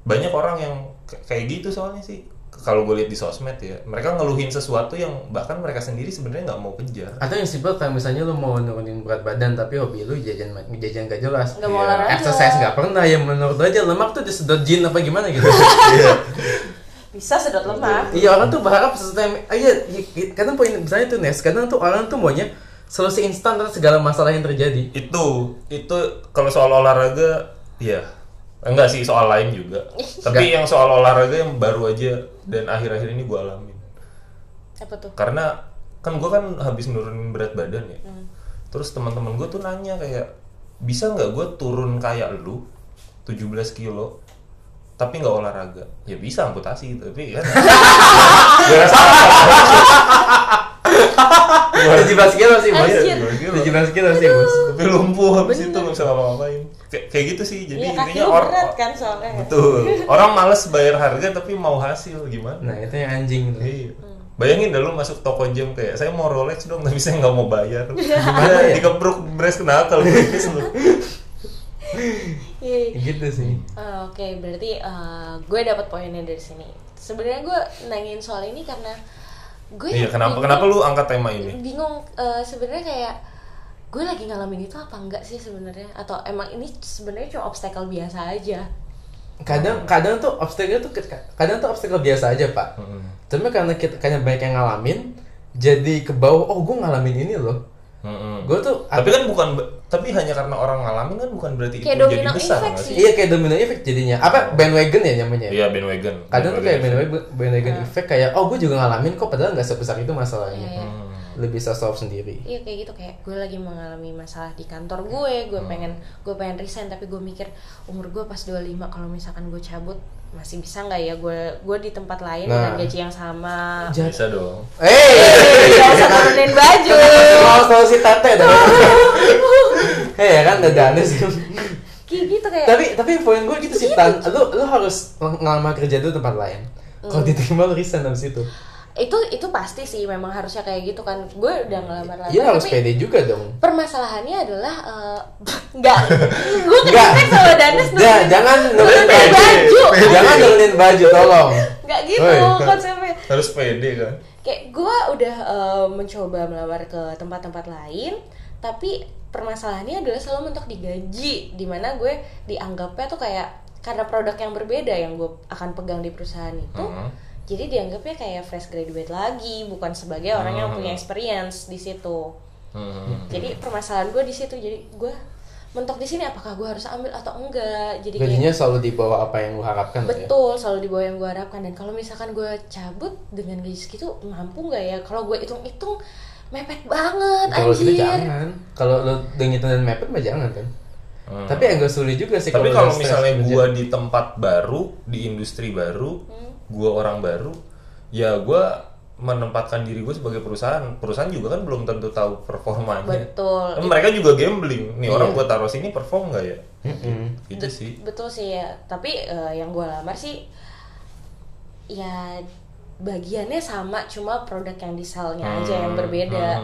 banyak orang yang k- kayak gitu soalnya sih kalau gue lihat di sosmed ya mereka ngeluhin sesuatu yang bahkan mereka sendiri sebenarnya nggak mau kejar Atau yang simpel kayak misalnya lu mau nurunin berat badan tapi hobi lu jajan jajan gak jelas. Nggak Iya. mau olahraga. Exercise gak pernah ya menurut lu aja lemak tuh disedot jin apa gimana <laughs> gitu. Bisa sedot lemak. iya orang tuh berharap sesuatu yang ah, iya i- kadang poin misalnya tuh Nes, kadang tuh orang tuh maunya solusi instan atas segala masalah yang terjadi. itu itu kalau soal olahraga ya enggak sih soal lain <laughs> juga tapi yang soal olahraga yang baru aja dan akhir-akhir ini gue alamin Apa tuh? karena kan gue kan habis nurunin berat badan ya Hmm. terus teman-teman gue tuh nanya kayak bisa nggak gue turun kayak lu 17 kilo tapi nggak olahraga ya bisa amputasi tapi <laughs> kan ya salah 17 kilo sih, Bos. Anjir. 17 Iya. kilo sih, Bos. tapi lumpuh habis itu nggak bisa ngapa-ngapain Kayak- kayak gitu sih jadi Iya, kaki intinya lu orang berat kan soalnya. betul orang males bayar harga tapi mau hasil gimana Nah, itu yang anjing Hmm. tuh. Iya. Bayangin dah lu masuk toko jam kayak saya mau Rolex dong tapi saya nggak mau <laughs> bayar. Gimana Gimana ya? Dikebruk beres kena <laughs> akal tipis lu. Iya. Gitu sih. Ah, Oke, berarti eh, gue dapat poinnya dari sini. Sebenarnya gue nanyain soal ini karena gue Iya, kenapa bingung- kenapa lu angkat tema Iya. ini? bingung eh, sebenarnya kayak gue lagi ngalamin itu apa enggak sih sebenarnya atau emang ini sebenarnya cuma obstacle biasa aja. kadang kadang tuh obstacle tuh kadang tuh obstacle biasa aja pak tapi karena kita karena banyak yang ngalamin jadi ke bawah oh gue ngalamin ini loh Mm-mm. gue tuh Tapi kan bukan tapi hanya karena orang ngalamin kan bukan berarti itu jadi Kayak domino besar effect nggak sih? sih. iya kayak domino effect jadinya apa bandwagon ya namanya Iya bandwagon. kadang tuh kayak Bandwagon. bandwagon, bandwagon effect kayak oh gue juga ngalamin kok padahal nggak sebesar itu masalahnya Iya, iya. lebih bisa solve sendiri Iya kayak gitu kayak gue lagi mengalami masalah di kantor gue, Oh. gue pengen gue pengen resign tapi gue mikir umur gue pas 25 kalau misalkan gue cabut masih bisa nggak ya gue gue di tempat lain Nah. dengan gaji yang sama. Jangan- Bisa dong. Iya, eh Gak usah turunin <laughs> baju. iya. mau solusi tete <laughs> dah eh ya kan ada aneh Iya. sih Kayak gitu kayak tapi tapi poin gue gitu Iya, sih tan lu lu harus ng- ngelamar kerja dulu tempat lain kalau Mm. diterima lu resign abis itu itu itu pasti sih memang harusnya kayak gitu kan gue udah ngelamar lama ya harus tapi pede juga dong permasalahannya adalah eh, <laughs> nggak gue Nggak. kedetek sama Danes Ja, jangan nurunin nurunin baju baju jangan nurunin baju tolong nggak gitu Oi. konsepnya Harus pede kan. kayak gue udah eh, mencoba melamar ke tempat-tempat lain tapi permasalahannya adalah selalu mentok di gaji dimana gue dianggapnya tuh kayak karena produk yang berbeda yang gue akan pegang di perusahaan itu Mm. jadi dianggapnya kayak fresh graduate lagi bukan sebagai orang yang punya experience di situ Mm. jadi permasalahan gue di situ jadi gue mentok di sini apakah gue harus ambil atau enggak jadi kayak- gajinya selalu di bawah apa yang lu harapkan lah ya. Betul, selalu di bawah yang gue harapkan dan kalau misalkan gue cabut dengan gaji segitu mampu nggak ya? Kalau gue hitung-hitung mepet banget kalau gitu anjir. jangan kalau lu dengitin dan mepet mah jangan kan Hmm. tapi agak sulit juga sih Tapi lu kalau udah stres misalnya kerja. gua di tempat baru, di industri baru, Hmm. gua orang baru, ya gua menempatkan diri gue sebagai perusahaan. Perusahaan juga kan belum tentu tahu performanya. Betul. Kan mereka juga gambling. Nih Iya. orang gua taruh sini perform nggak ya? Mm-mm. Gitu sih. Betul sih ya, tapi eh, yang gue lamar sih ya bagiannya sama cuma produk yang disalnya aja yang berbeda.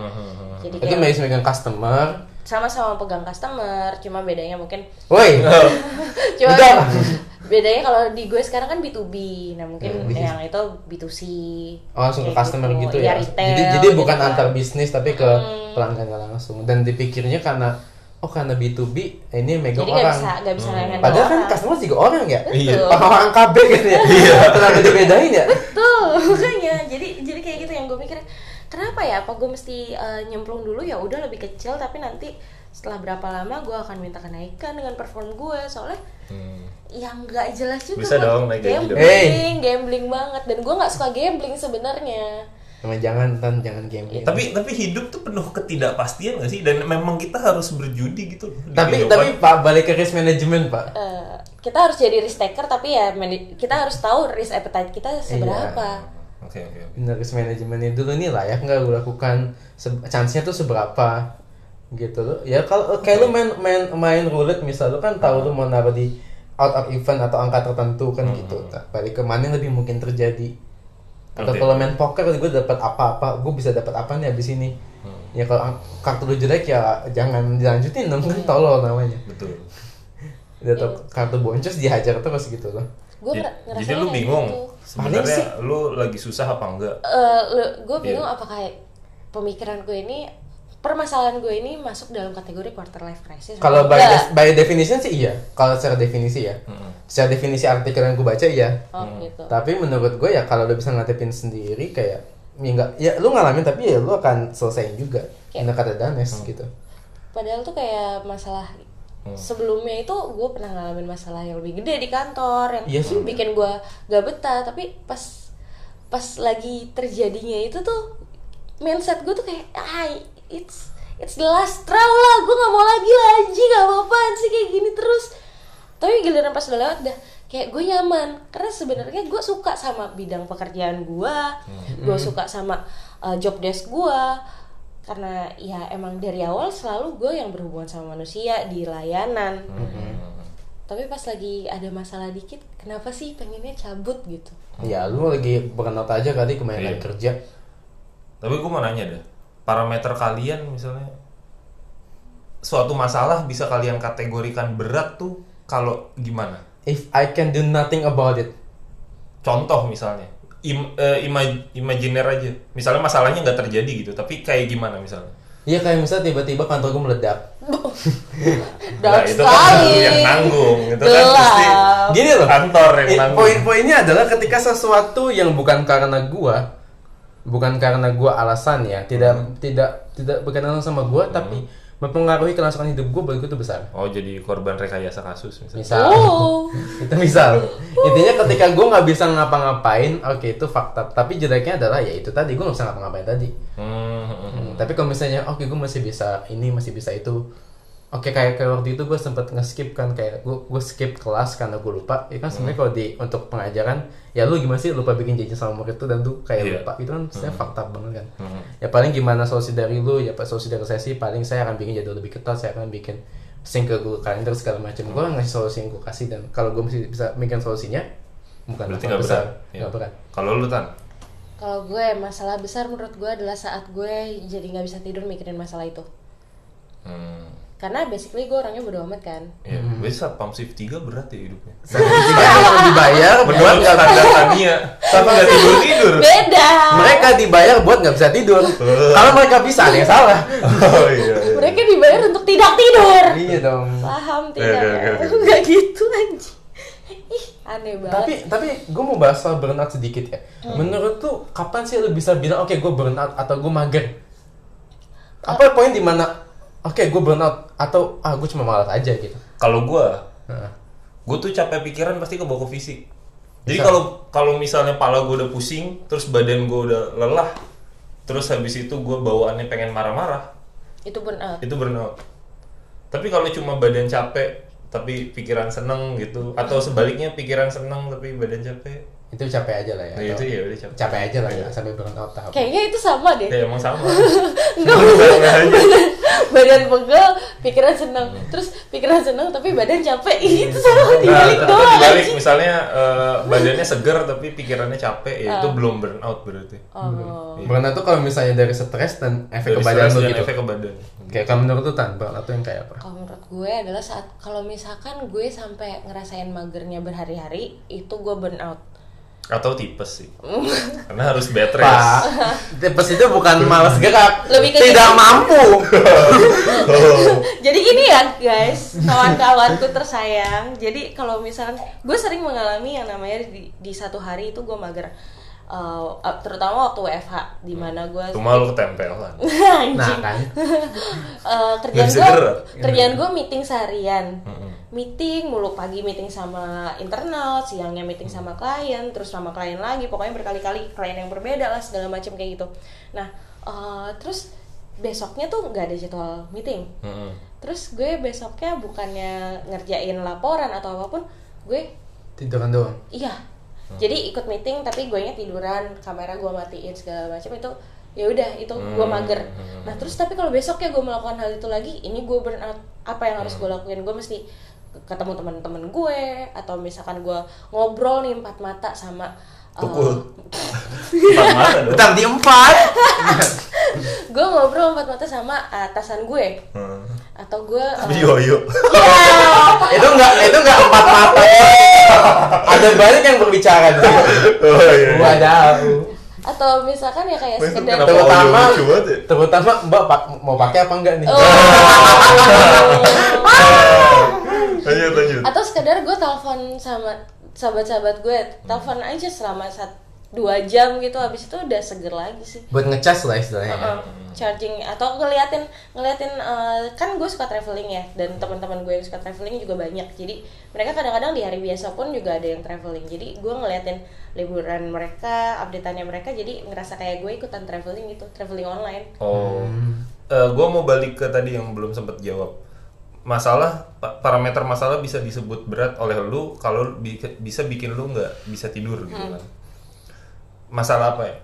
Jadi itu kayak masih megang customer <laughs> Hmm. <laughs> sama-sama pegang customer, cuma bedanya mungkin woi cuma Udah. bedanya kalau di gue sekarang kan B2B nah mungkin Hmm. yang itu B2C Oh, langsung ke Kayak customer gitu, ya. Iya, retail, jadi jadi gitu bukan kan. antar bisnis tapi ke Hmm. pelanggan nggak langsung. Dan dipikirnya karena oh karena B2B eh, ini megang jadi nggak orang. bisa nggak bisa nanyain Padahal kan orang. customer juga orang ya. Iya. Betul. Orang orang KB kan ya. Iya. Kenapa dibedain ya? Tuh, <laughs> makanya. Jadi jadi kayak gitu yang gue mikir, kenapa ya? Apa gue mesti eh, nyemplung dulu ya udah lebih kecil tapi nanti setelah berapa lama gue akan minta kenaikan dengan perform gue soalnya Hmm. yang nggak jelas juga Bisa kan. dong, naik gaji dong. gambling gambling banget dan gue nggak suka gambling sebenarnya Emang jangan tan jangan gambling. Tapi tapi hidup tuh penuh ketidakpastian gak sih? Dan memang kita harus berjudi gitu. loh di tapi kehidupan. tapi Pak balik ke risk management Pak. Eh, kita harus jadi risk taker tapi ya mani- kita harus tahu risk appetite kita seberapa Oke oke. oke. Bener, risk management itu dulu nih layak nggak gue lakukan? Se- chance-nya tuh seberapa? Gitu loh. Ya kalau kayak lu main main main roulette misal lu kan tahu lu mau naruh di out of event atau angka tertentu kan gitu. Balik ke mana yang lebih mungkin terjadi? Atau Ngerti. kalau main poker gue dapat apa-apa, gue bisa dapat apa nih abis ini? Ya kalau ang- kartu lu jelek ya jangan dilanjutin dong kan tolol namanya. Betul. Atau Iya. kartu boncos dihajar terus gitu loh. gue Iya. Jadi, ngerasa jadi lu bingung gitu. Paling sih. sebenarnya lu lagi susah apa enggak? Iya. gue Eh, bingung apakah pemikiran gue ini permasalahan gue ini masuk dalam kategori quarter life crisis atau Kalau by, enggak. des- by definition sih iya. Kalau secara definisi ya. Secara definisi artikel yang gue baca iya. oh Hmm. gitu Tapi menurut gue ya kalau lo bisa ngadepin sendiri kayak ya enggak ya lu ngalamin tapi ya lu akan selesaiin juga. Iya. Bener kata Danes gitu. padahal tuh kayak masalah Hmm. sebelumnya itu gue pernah ngalamin masalah yang lebih gede di kantor yang Iya sih. bikin gue gak betah tapi pas pas lagi terjadinya itu tuh mindset gue tuh kayak ah it's it's the last straw lah gue nggak mau lagi lah anjing gak mau apaan sih kayak gini terus tapi giliran pas udah lewat dah kayak gue nyaman karena sebenarnya gue suka sama bidang pekerjaan gue Hmm. gue suka sama uh, job desk gue karena ya emang dari awal selalu gue yang berhubungan sama manusia di layanan Hmm. tapi pas lagi ada masalah dikit kenapa sih pengennya cabut gitu Ya lu lagi burnout aja kali Iya. kemarin kerja. Tapi gue mau nanya deh, parameter kalian misalnya suatu masalah bisa kalian kategorikan berat tuh kalau gimana? If I can do nothing about it. Contoh misalnya, im, eh, ima- imajiner aja. Misalnya masalahnya nggak terjadi gitu, tapi kayak gimana misalnya? Iya kayak misalnya tiba-tiba kantor gue meledak. Nah, dark itu kan lu sekali yang nanggung, itu kan Gelap. mesti Gini loh. kantor yang Eh, nanggung. Poin-poinnya adalah ketika sesuatu yang bukan karena gua, bukan karena gua alasan ya, tidak Hmm. tidak tidak berkenalan sama gua, tapi mempengaruhi kelangsungan hidup gua bagi gua itu besar. Oh jadi korban rekayasa kasus misalnya. Misal, Oh. <laughs> itu misal. Intinya ketika gua nggak bisa ngapa-ngapain, oke itu fakta. Tapi jeleknya adalah ya itu tadi gua nggak bisa ngapa-ngapain tadi. Hmm. Hmm, Tapi kalau misalnya, oke gua masih bisa ini, masih bisa itu. Oke kayak kayak waktu itu gue sempet nge-skip kan kayak gue gue skip kelas karena gue lupa. Ya kan Mm. sebenarnya kalau di untuk pengajaran ya lu gimana sih lupa bikin jajan sama murid tuh dan tuh kayak Iya. Mm. lupa itu kan saya fakta banget kan. Ya paling gimana solusi dari lu ya pak solusi dari saya sih paling saya akan bikin jadwal lebih ketat saya akan bikin sync ke Google Calendar segala macam. Gue Mm. ngasih solusi yang gue kasih dan kalau gue masih bisa mikirin solusinya bukan Berarti masalah nggak besar berat. Iya. nggak berat. <laughs> Kalau lu tan, kalau gue masalah besar menurut gue adalah saat gue jadi nggak bisa tidur mikirin masalah itu hmm. karena basically gue orangnya bodo amat kan ya, biasa satpam shift 3 berat ya <laughs> hidupnya. Tiga <laughs> yang dibayar buat Menurut nggak standar Tania, tapi nggak tidur tidur. beda Mereka dibayar buat nggak bisa tidur. Kalau mereka bisa ada yang salah. <laughs> Oh iya. iya. mereka dibayar untuk tidak tidur iya dong. paham Oke, tidak oke, oke, oke. nggak gitu anjing ih aneh banget Tapi tapi gue mau bahas soal burnout sedikit ya. Menurut tuh kapan sih lu bisa bilang oke gue burnout atau gue mager? Apa poin di mana oke gue burnout atau ah gue cuma malas aja gitu. Kalau gua, Nah, gue tuh capek pikiran pasti kebawa ke fisik. Jadi kalau kalau misalnya pala gue udah pusing, terus badan gue udah lelah, terus habis itu gue bawaannya pengen marah-marah, itu pun eh, itu burnout. Tapi kalau cuma badan capek, tapi pikiran seneng gitu, atau sebaliknya pikiran seneng tapi badan capek, itu capek aja lah ya. nah atau itu ya udah capek. capek aja lah ya sampai burnout tahap. kayaknya itu sama deh Ya emang sama. <laughs> Sama aja. badan pegel pikiran seneng Hmm. terus pikiran seneng tapi badan capek itu Nah, sama dibalik tapi doang dibalik misalnya eh, badannya seger tapi pikirannya capek, ya itu belum burnout berarti. oh Burnout tuh kalau misalnya Iya. dari stres dan efek Dari ke badan stres lu dan gitu. efek ke badan. Kayak kalau menurut lu tanpa atau yang kayak apa? Kalau menurut gue adalah saat kalau misalkan gue sampai ngerasain magernya berhari-hari itu gue burn out. atau tipes sih karena harus bed Pak, <laughs> rest tipes itu bukan malas gerak, Lebih ke tidak gitu. <laughs> mampu. Oh. Jadi ini ya guys, kawan-kawanku tersayang. Jadi kalau misalkan gue sering mengalami yang namanya di, di satu hari itu gue mager. Eh, terutama waktu WFH di mana gue cuma lu ketempelan <laughs> Anjing. Nah kan, Eh, kerjaan Nggak bisa gue gerak. kerjaan gue meeting seharian Mm-mm. meeting mulu pagi meeting sama internal siangnya meeting sama klien terus sama klien lagi pokoknya berkali-kali klien yang berbeda lah segala macam kayak gitu nah eh, terus besoknya tuh nggak ada jadwal meeting Mm-mm. terus gue besoknya bukannya ngerjain laporan atau apapun gue tiduran doang. Iya. Hmm. Jadi ikut meeting tapi gue tiduran, kamera gue matiin segala macam itu ya udah itu gue Hmm. mager. Nah terus tapi kalau besok ya gue melakukan hal itu lagi, ini gue burn out. Apa yang Hmm. harus gue lakuin? Gue mesti ketemu teman-teman gue atau misalkan gue ngobrol nih empat mata sama uh, pukul <laughs> empat mata dong Utang di empat. gue ngobrol empat mata sama atasan gue Hmm. atau gue uh, Tapi yoyo itu enggak itu enggak empat mata. Ada banyak yang berbicara di sini. oh iya, iya. Wadaw. atau misalkan ya kayak Wah, itu sekedar kenapa audio Terutama- lucu banget ya? Terutama Mbak pak- mau pakai apa enggak nih? Oh. lanjut lanjut atau sekedar gue telepon sama sahabat-sahabat gue telepon aja selama sat dua jam gitu habis itu udah seger lagi sih Buat ngecas lah istilahnya. Heeh, charging atau ngeliatin ngeliatin eh, kan gue suka traveling ya dan teman-teman gue yang suka traveling juga banyak jadi mereka kadang-kadang di hari biasa pun juga ada yang traveling jadi gue ngeliatin liburan mereka updateannya mereka jadi ngerasa kayak gue ikutan traveling gitu traveling online Oh, gue mau balik ke tadi yang belum sempat jawab. Masalah pa- parameter masalah bisa disebut berat oleh lu kalau bi- bisa bikin lu nggak bisa tidur gitu kan. Masalah apa ya?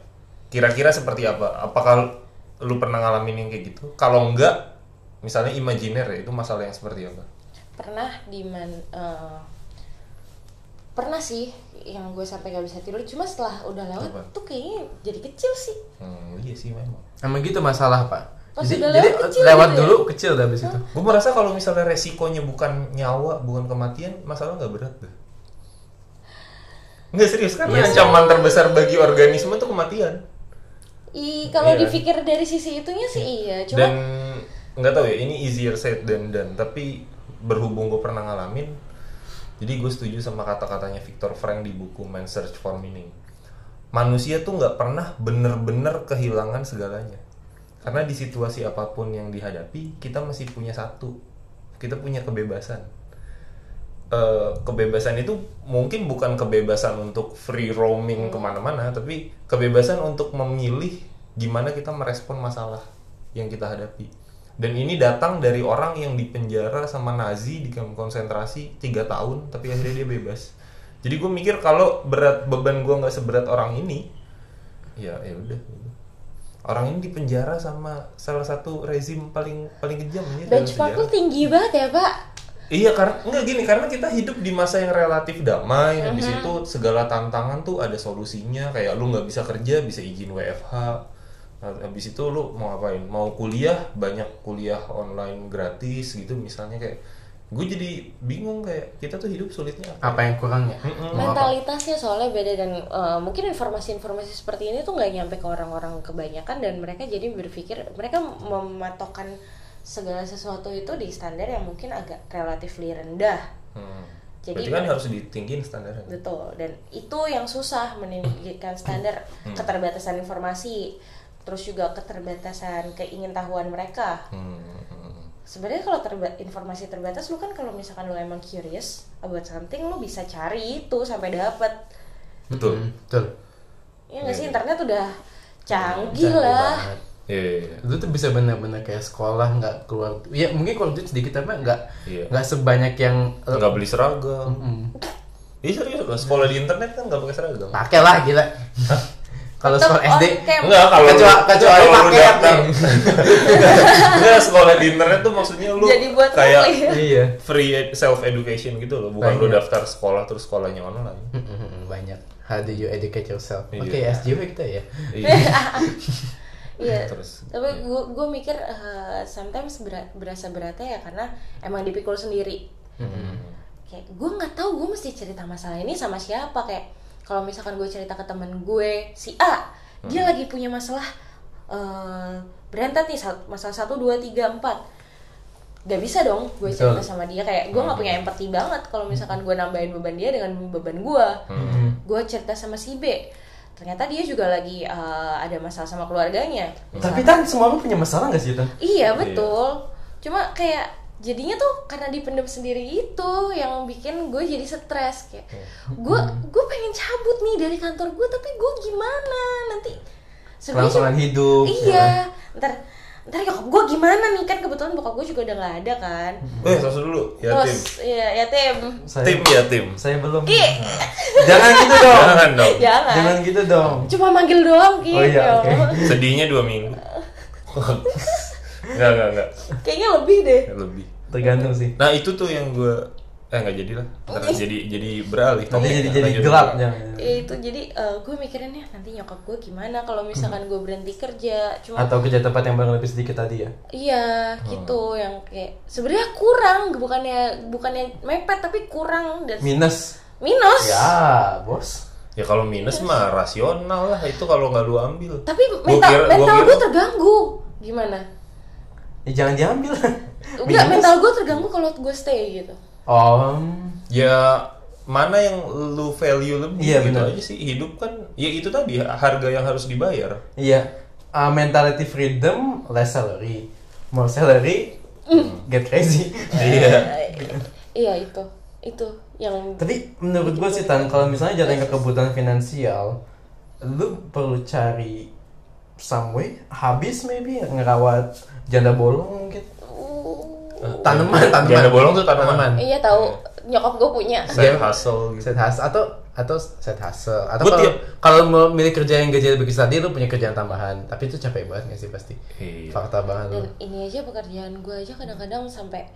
Kira-kira seperti apa? Apakah lu pernah ngalamin yang kayak gitu? Kalau enggak, misalnya imajiner ya, itu masalah yang seperti apa? pernah di man eh, pernah sih yang gue sampai gak bisa tidur cuma setelah udah lewat Apa? tuh kayaknya jadi kecil sih Hmm, iya sih memang. Emang gitu masalah pak. Pas jadi, udah jadi Oh, lewat kecil lewat gitu ya? dulu kecil udah habis itu. Gue merasa kalau misalnya resikonya bukan nyawa, bukan kematian, masalah nggak berat deh. Nggak serius, karena Iya sih. ancaman terbesar bagi organisme itu kematian. i Iya. kalau Hmm. dipikir dari sisi itunya sih iya cuma dan nggak tahu ya ini easier said than done tapi berhubung gue pernah ngalamin jadi gue setuju sama kata-katanya Viktor Frank di buku Man Search for Meaning manusia tuh nggak pernah bener-bener kehilangan segalanya karena di situasi apapun yang dihadapi kita masih punya satu kita punya kebebasan Eh, kebebasan itu mungkin bukan kebebasan untuk free roaming Hmm. kemana-mana tapi kebebasan untuk memilih gimana kita merespon masalah yang kita hadapi dan ini datang dari orang yang dipenjara sama Nazi di kamp konsentrasi tiga tahun tapi akhirnya dia bebas jadi gue mikir kalau berat beban gue nggak seberat orang ini ya ya udah orang ini dipenjara sama salah satu rezim paling paling kejam ini dalam benchmark sejarah. lu tinggi banget ya pak Iya karena nggak gini karena kita hidup di masa yang relatif damai Mm-hmm. habis itu segala tantangan tuh ada solusinya kayak lu nggak bisa kerja bisa izin WFH Nah, habis itu lu mau ngapain mau kuliah banyak kuliah online gratis gitu misalnya kayak gue jadi bingung kayak kita tuh hidup sulitnya apa Apa yang kurangnya? Mm-mm. Mau apa? mentalitasnya soalnya beda dan eh, mungkin informasi-informasi seperti ini tuh nggak nyampe ke orang-orang kebanyakan dan mereka jadi berpikir mereka mematokkan segala sesuatu itu di standar yang mungkin agak relatif rendah Hmm. Jadi- berarti kan harus ditinggiin standarnya Betul, dan itu yang susah meninggikan standar Hmm. keterbatasan informasi, terus juga keterbatasan keingintahuan mereka. Hmm. Sebenarnya kalau terba- informasi terbatas, lu kan kalau misalkan lu emang curious about something, lu bisa cari itu sampai dapet. betul Mm, Betul. Ya nggak sih, Iya. internet udah canggih Canggih lah. banget. Iya, iya, iya. Lu tuh bisa bener-bener kayak sekolah nggak keluar. Ya mungkin keluar duit sedikit tapi nggak Iya. nggak sebanyak yang eh, nggak beli seragam mm, Iya serius loh, sekolah di internet kan nggak pakai seragam pakai lah gila. <laughs> Kalau Tetep sekolah SD on cam. Enggak, kalau Kecuali- kecuali kalau lu pakai <laughs> daftar. Enggak, sekolah di internet tuh maksudnya lu Jadi buat kayak ngeplay. iya. free self education gitu loh, bukan lu Banyak. daftar sekolah terus sekolahnya <laughs> online. Mm, banyak. How do you educate yourself? Iya. Oke, SJW kita ya. Iya. Iya. <laughs> Terus. Tapi gue gue mikir eh, sometimes berat, berasa beratnya ya karena emang dipikul sendiri. Hmm. Kayak gue nggak tahu gue mesti cerita masalah ini sama siapa kayak kalau misalkan gue cerita ke temen gue si A Hmm. dia lagi punya masalah eh, berantet nih sat- masalah satu dua tiga empat gak bisa dong gue Betul. Hmm. cerita sama dia kayak gue nggak punya empati banget kalau misalkan gue nambahin beban dia dengan beban gue Hmm. Hmm. gue cerita sama si B ternyata dia juga lagi eh, ada masalah sama keluarganya Tapi kan semua lu punya masalah gak sih, Tan? Iya betul. Cuma kayak jadinya tuh karena dipendam sendiri itu yang bikin gue jadi stres kayak gue gue pengen cabut nih dari kantor gue tapi gue gimana nanti sebenarnya Kelangsungan cuma- hidup. ya." iya ntar ntar nyokap gue gimana nih kan kebetulan bokap gue juga udah nggak ada kan Hmm. Eh, sosok dulu. Ya tim. terus ya ya tim <laughs> Saya, Tim ya tim. saya belum. Ki Jangan gitu dong. Jangan dong. jangan Jangan gitu dong. cuma manggil doang Ki Oh iya, Ya oke. Allah. Sedihnya dua minggu. Enggak, enggak, enggak. <laughs> kayaknya lebih deh Lebih. Tergantung sih. Nah, itu tuh yang gue eh nggak jadilah. Ntar jadi jadi beralih. Nanti topiknya. jadi jadi Lanjut. gelap jangan. Ya itu jadi eh, gue mikirinnya nanti nyokap gue gimana kalau misalkan gue berhenti kerja cuma Atau kerja tempat yang barang lebih sedikit tadi ya. Iya, Hmm. gitu yang kayak sebenarnya kurang, bukannya bukannya mepet tapi kurang dan Minus. minus. Ya, bos. Ya kalau minus mah rasional lah itu kalau nggak lu ambil. Tapi Gua mental kira- gua mental kira- gue terganggu. Gimana? Ya, jangan diambil. Enggak, Minus. mental gue terganggu kalau gue stay gitu. Om. Ya mana yang lu value lebih Iya, gitu benar. aja sih hidup kan ya itu tadi harga yang harus dibayar Iya. Ah, mentality freedom, less salary. More salary, Mm. get crazy. iya Iya itu, itu yang Tapi menurut gue sih Tan, kalau misalnya jatuh ke kebutuhan finansial, lu perlu cari some way, habis maybe ngerawat janda bolong mungkin. Tanaman, tanaman. Janda bolong tuh tanaman. uh, iya tahu Hmm. nyokap gue punya. saya Iya. hustle gitu Set hustle atau atau set hustle atau Gua kalau tiap- kalau mau milih kerja yang gajinya lebih besar tadi lu punya kerjaan tambahan tapi itu capek banget nggak sih pasti Iya. fakta banget lu Dan ini aja pekerjaan gue aja kadang-kadang sampai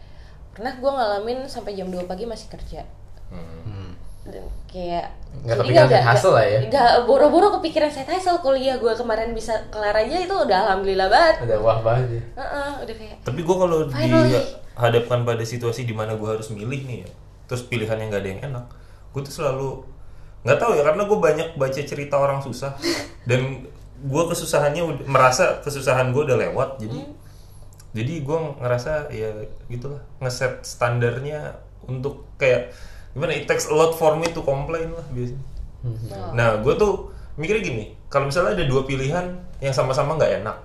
pernah gue ngalamin sampai jam 2 pagi masih kerja. Hmm. Dan kayak Nggak jadi kepikiran nggak- side hustle lah ya? nggak boro-boro kepikiran side hustle kuliah gue kemarin bisa kelar aja itu udah alhamdulillah banget ada wah banget ya. Heeh, udah kayak tapi gue kalau Finally. dihadapkan pada situasi di mana gue harus milih nih ya terus pilihan yang gak ada yang enak gue tuh selalu nggak tahu ya karena gue banyak baca cerita orang susah dan gue kesusahannya ud- merasa kesusahan gue udah lewat jadi jadi gue ngerasa ya gitulah ngeset standarnya untuk kayak gimana ya, it takes a lot for me to complain lah biasanya nah gue tuh mikirnya gini kalau misalnya ada dua pilihan yang sama-sama nggak enak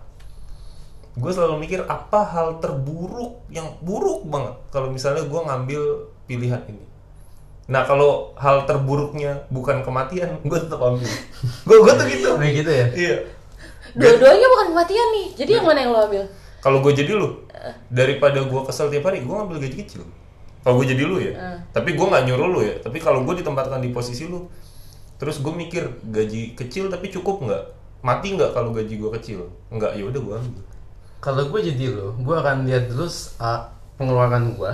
gue selalu mikir apa hal terburuk yang buruk banget kalau misalnya gue ngambil pilihan ini nah kalau hal terburuknya bukan kematian gue tetap ambil gue gue tuh gitu Kayak gitu ya. iya dua-duanya bukan kematian nih jadi yang mana yang lo ambil kalau gue jadi lu daripada gue kesel tiap hari gue ngambil gaji kecil kalau gue jadi lu ya tapi gue nggak nyuruh lu ya tapi kalau gue ditempatkan di posisi lu terus gue mikir gaji kecil tapi cukup nggak mati nggak kalau gaji gue kecil nggak ya udah gue ambil Kalau gue jadi lu, gue akan lihat dulu s- uh, pengeluaran gue.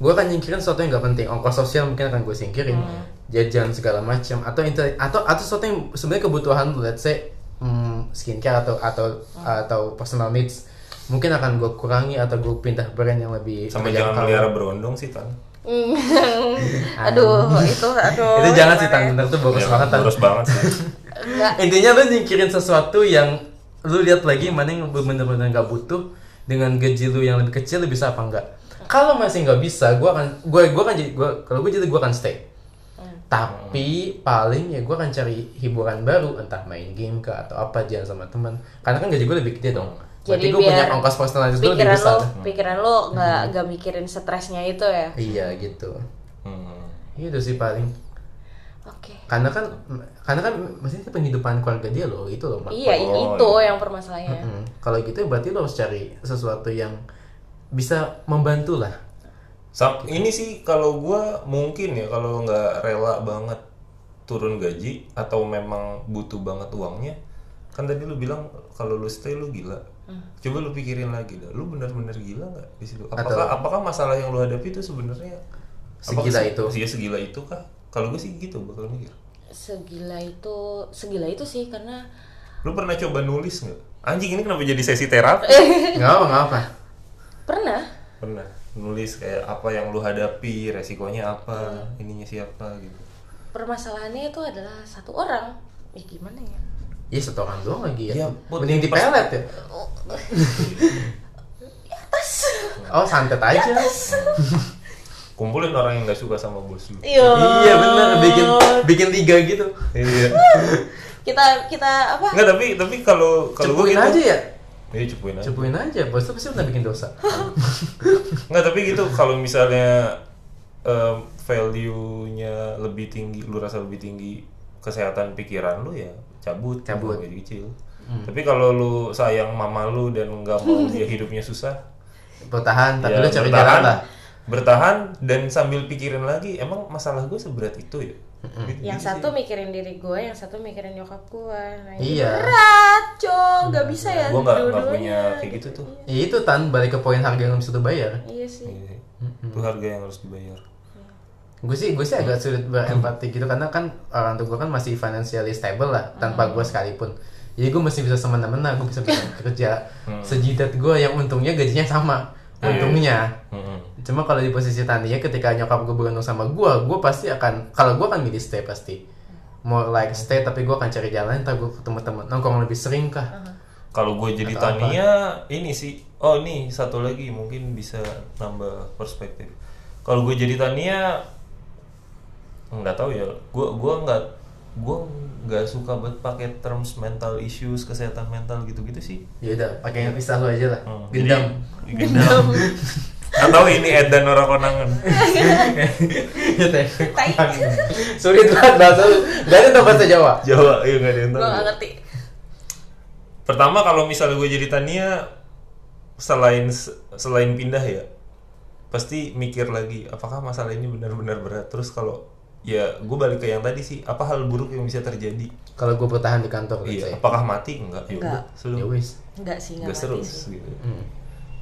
Gue akan nyingkirin sesuatu yang gak penting. Ongkos sosial mungkin akan gue singkirin. Jajan segala macam atau inter- atau atau sesuatu yang sebenarnya kebutuhan lu, let's say mm, skincare atau atau atau personal needs mungkin akan gue kurangi atau gue pindah brand yang lebih sama jangan terjangkau. melihara berondong sih tan Hmm. aduh itu aduh Ah. Itu jangan sih gimana ya? tan, bener tuh bagus Iya, banget Tan. Terus banget sih. Enggak. Ya, Intinya lu nyingkirin sesuatu yang lu lihat lagi mana yang bener-bener nggak butuh dengan gaji lu yang lebih kecil lu bisa apa enggak. Kalau masih nggak bisa, gua akan gua gua akan jadi gua kalau gua jadi gua akan stay. Hmm. Tapi paling ya gua akan cari hiburan baru entah main game ke atau apa jalan sama teman. Karena kan gaji gua lebih gede dong. Berarti Jadi gua punya biar ongkos personalis gua lebih pikiran besar. lo pikiran lo nggak nggak mikirin stresnya itu ya Iya gitu. Hmm. Itu sih paling. oke Karena kan karena kan maksudnya penghidupan keluarga dia loh itu loh. Mak. iya Oh, itu iya. yang permasalahannya Mm, Kalau gitu berarti lo harus cari sesuatu yang bisa membantu lah. Sam- ini sih kalau gua mungkin ya kalau nggak rela banget turun gaji atau memang butuh banget uangnya kan tadi lu bilang kalau lu stay lu gila coba lu pikirin lagi dah lu benar-benar gila nggak di situ apakah apakah masalah yang lu hadapi itu sebenarnya apakah Segila se- itu. iya segila itu kah kalau gue sih gitu bakal mikir segila itu segila itu sih karena lu pernah coba nulis nggak Anjing ini kenapa jadi sesi terapi? Nggak apa nggak apa. Pernah Pernah nulis kayak apa yang lu hadapi, resikonya apa, ininya siapa gitu. permasalahannya itu adalah satu orang. Ya gimana ya? Ya satu orang doang lagi ya. Ya, Put, Mending di pas- pelet ya. Oh santet aja. Kumpulin orang yang nggak suka sama bos lu. Iya. Iya bener bikin bikin tiga gitu. <laughs> Iya. Kita kita apa? Enggak tapi tapi kalau kalau gua Cepuin gitu. aja ya. Iya cepuin aja. Cepuin aja. Bos tuh pasti udah bikin dosa. Nggak, tapi gitu kalau misalnya em, value-nya lebih tinggi, lu rasa lebih tinggi kesehatan pikiran lu ya cabut, Cabut. Hmm. Jadi kecil. Tapi kalau lu sayang mama lu dan nggak <laughs> mau dia hidupnya susah, Bertahan tapi ya lu cari jalan lah. bertahan dan sambil pikirin lagi, emang masalah gue seberat itu ya. Gitu- Yang gitu satu mikirin diri gue, yang satu mikirin nyokap gue. Nah, itu Iya. Berat, cok. Gak bisa sih. ya. iya. Gua nggak nggak dua-duanya. punya kayak gitu tuh. Ya itu tan balik ke poin harga yang nggak bisa dibayar. Iya sih. Iya. Itu harga yang harus dibayar. Gue sih gue sih Hmm. agak sulit berempati gitu karena kan orang tua gue kan masih financially stable lah tanpa Hmm. gue sekalipun. Jadi gue masih bisa semena-mena, <laughs> gue bisa kerja Hmm. sejidat gue yang untungnya gajinya Iya, sama. Untungnya. Mm-mm. Cuma kalau di posisi Tania ketika nyokap gue bergantung sama gue, gue pasti akan kalau gue akan milih stay pasti. More like Hmm. stay tapi gue akan cari jalan, ntar gue ketemu teman nongkrong lebih sering kah? Hmm. Kalau gue jadi Tania, ini sih. Oh, ini satu lagi mungkin bisa nambah perspektif. Kalau gue jadi Tania, nggak tahu ya. Gue gua nggak gue nggak suka banget pakai terms mental issues, kesehatan mental gitu-gitu sih. Ya udah, pakai yang pisah lu aja lah. Hmm, Gendam. <laughs> jadi- <laughs> gendam. Atau ini Edan orang konangan. Ya, teh. Tai. Sulit banget bahasa lu. Gak ada tempat bahasa Jawa. Jawa, iya nggak ada yang Gue tahu. gak ngerti. Pertama kalau misalnya gue jadi Tania, selain selain pindah ya, pasti mikir lagi apakah masalah ini benar-benar berat. Terus kalau ya gue balik ke yang tadi sih, apa hal buruk yang bisa terjadi? Kalau gue bertahan di kantor, let's say. Iya, apakah mati enggak? Ya Enggak. udah, selalu ya wis. Enggak sih, enggak gas mati terus sih. gitu.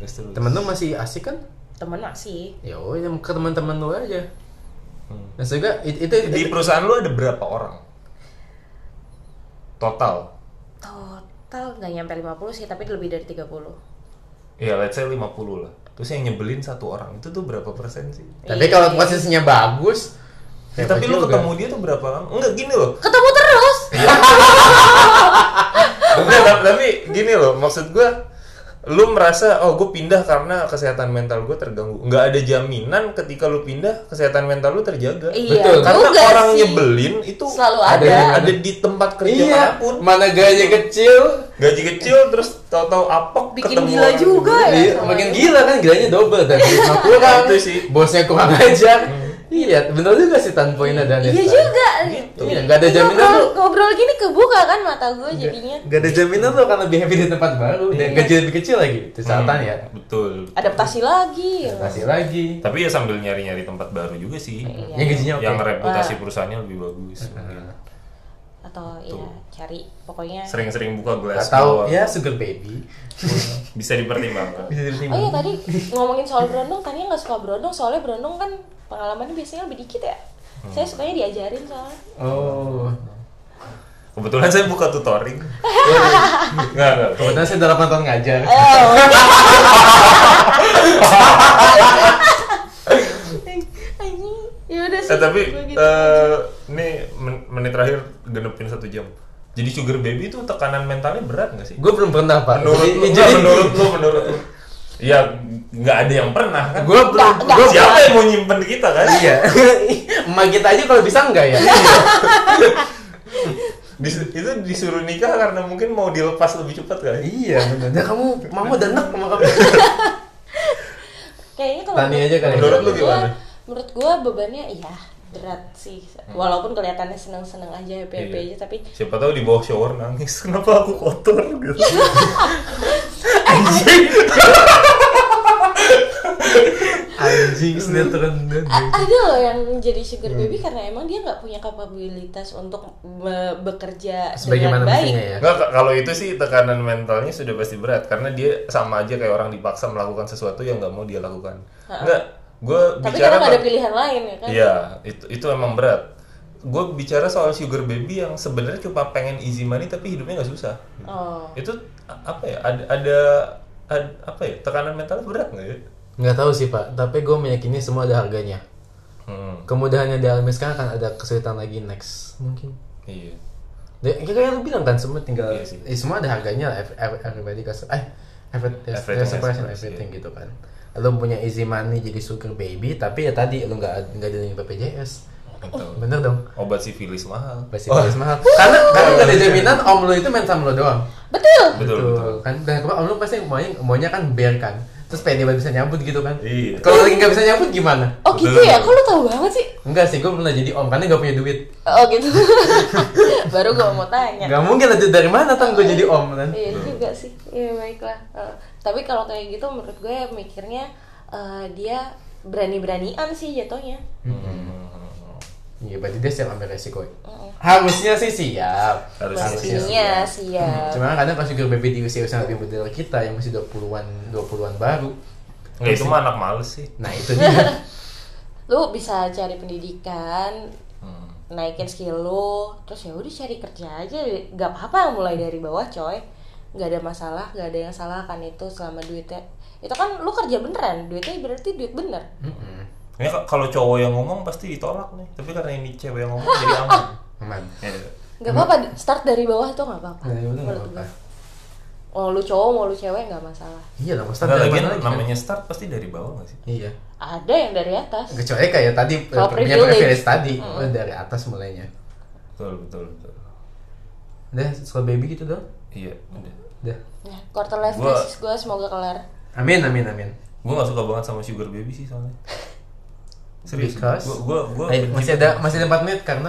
Gas terus. Temen lu masih asik kan? Temen masih. Ya udah ke teman-teman lu aja. Hmm. Nah, juga itu, itu, Di perusahaan lu ada berapa orang? Total. Total nggak nyampe 50 sih, tapi lebih dari 30. Ya, let's say 50 lah. Terus yang nyebelin satu orang itu tuh berapa persen sih? tapi Iya, kalau posisinya bagus, Ya, hebat tapi lu juga. ketemu dia tuh berapa lama? Enggak gini loh. Ketemu terus. Enggak, tapi- tapi gini loh, maksud gua lu merasa oh gue pindah karena kesehatan mental gue terganggu nggak ada jaminan ketika lu pindah kesehatan mental lu terjaga Iya, Betul, karena juga orang sih. nyebelin itu Selalu ada ada. ada di tempat kerja Iya, manapun mana gaya kecil. gaji kecil terus tahu-tahu apok Bikin ketemu gila orang juga nyebelin. ya. Iya, makin gila kan gilanya double <laughs> tadi. Nah, kurang Itu sih. Hmm. Bosnya kurang ajar. Iya, bener juga sih tan poinnya dan Iya juga. Iya, nggak ada Ini jaminan Iya. ngobrol, tuh. ngobrol gini kebuka kan mata gue jadinya. Gak ada jaminan lo akan lebih happy di tempat baru dan gaji lebih kecil lagi. Iya. Itu Hmm, catatan ya. betul Adaptasi lagi. ya. Kasih lagi. tapi ya sambil nyari-nyari tempat baru juga sih Iya. Yang gajinya oke. yang reputasi perusahaannya lebih bagus mungkin. Atau ya cari pokoknya. sering-sering buka glass door. Atau ya sugar baby. Iya. bisa dipertimbangkan Bisa diterima. Oh iya tadi ngomongin soal berondong, tadinya nggak suka berondong soalnya berondong kan pengalamannya biasanya lebih dikit ya. Saya sukanya diajarin soalnya. Oh. kebetulan saya buka tutoring nggak nggak Kebetulan saya udah 8 tahun ngajar. Anjing, ya udah sih. Eh tapi gua gitu. eh, ini men- menit terakhir genepin satu jam. Jadi sugar baby itu tekanan mentalnya berat nggak sih? Gue belum pernah pak. Menurut Jadi- lu, nggak, jadi- menurut lu, menurut lu. Ya nggak ada yang pernah kan? Gue belum. Gue Siapa yang mau nyimpen kita kan? <laughs> <laughs> Iya. Emak kita aja kalau bisa enggak ya. Iya. Dis- itu disuruh nikah karena mungkin mau dilepas lebih cepat kan? iya benar. Nah, kamu mama dan nak sama <laughs> kamu. Kayaknya kalau Tani menurut- aja kali. ya. Menurut lu gua- gimana? menurut gua bebannya iya berat sih. Walaupun kelihatannya seneng-seneng aja, Hmm. happy-happy Iya. aja, tapi Siapa tahu di bawah shower nangis. <laughs> Kenapa aku kotor gitu? Anjing sinetron dan. A- ada loh yang jadi sugar baby Hmm. karena emang dia nggak punya kapabilitas untuk be- bekerja Sebagaimana dengan baik. mestinya ya. Nggak, ka- kalau itu sih tekanan mentalnya sudah pasti berat karena dia sama aja kayak orang dipaksa melakukan sesuatu yang nggak mau dia lakukan. Nggak, gue Tapi bicara Iya. karena nggak ada bak- pilihan lain ya kan. Iya, itu itu emang berat. gue bicara soal sugar baby yang sebenarnya cuma pengen easy money tapi hidupnya nggak susah Oh. itu a- apa ya ada ada, ad- apa ya tekanan mental berat nggak ya Nggak tahu sih pak, tapi gue meyakini semua ada harganya. hmm, Kemudahan yang dialami sekarang akan ada kesulitan lagi next mungkin. iya Ya, kayak yang lu bilang kan semua tinggal, Iya sih. eh, semua ada harganya lah. ev- ev- Everybody goes, eh, every- there's, Everything there's a has price and price, everything gitu kan. Lu punya easy money jadi sugar baby, tapi ya tadi lu nggak nggak dilindungi BPJS. betul Bener dong. Oh. obat sifilis mahal Pasti bias <laughs> mahal. Karena karena nggak ada jaminan om lu itu main sama lu doang. Betul. Iya. betul Gitu, betul kan dan kemarin om lu pasti maunya maunya kan bear kan. Terus pengen dia bisa nyambut gitu kan. Iya. Kalau lagi nggak bisa nyambut gimana? Oh gitu Betul. ya, kok lu tahu banget sih? Enggak sih, gue pernah jadi om karena gak punya duit. Oh gitu. <laughs> Baru gua mau tanya. Gak mungkin lah duit dari mana tang gue jadi om kan? Iya juga sih. Iya baiklah. Eh, tapi kalau kayak gitu menurut gue mikirnya eh, dia berani-beranian sih jatuhnya. Hmm. Iya, berarti dia siap ambil resiko. ya? Mm-mm. Harusnya sih siap. Harusnya Harusnya sih Mestinya sih ya. Cuma kadang pas sugar baby di usia usia lebih muda dari kita yang masih 20-an, 20-an baru. Iya nggak itu mah anak males sih Nah, itu <laughs> dia. Lu bisa cari pendidikan, Hmm. naikin skill lu, terus ya udah cari kerja aja. Gak apa-apa mulai dari bawah, coy. Gak ada masalah, gak ada yang salah kan itu selama duitnya. Itu kan lu kerja beneran, duitnya berarti duit bener. Mm-mm. ini ka- kalau cowok yang ngomong pasti ditolak nih tapi karena ini cewek yang ngomong jadi <laughs> aman Aman. Ya. Gak apa-apa, start dari bawah itu gak apa-apa. Nah, itu nggak Menurut apa-apa. gue. Mau lu cowok, mau lu cewek gak masalah. Iya lah, maksudnya Nggak, dari lagian mana lagi, kan? namanya start pasti dari bawah nggak sih Iya. Ada yang dari atas. Kecuali kayak tadi Kalau eh, punya privilege. privilege tadi oh, dari atas mulainya. betul betul betul Udah, soal baby gitu dong. iya udah Udah. Nah, quarter life Gua- crisis gue semoga kelar. Amin, amin, amin. gue gak suka banget sama sugar baby sih soalnya serius Because- gue gue gue Eh, masih ada masih ada 4 menit karena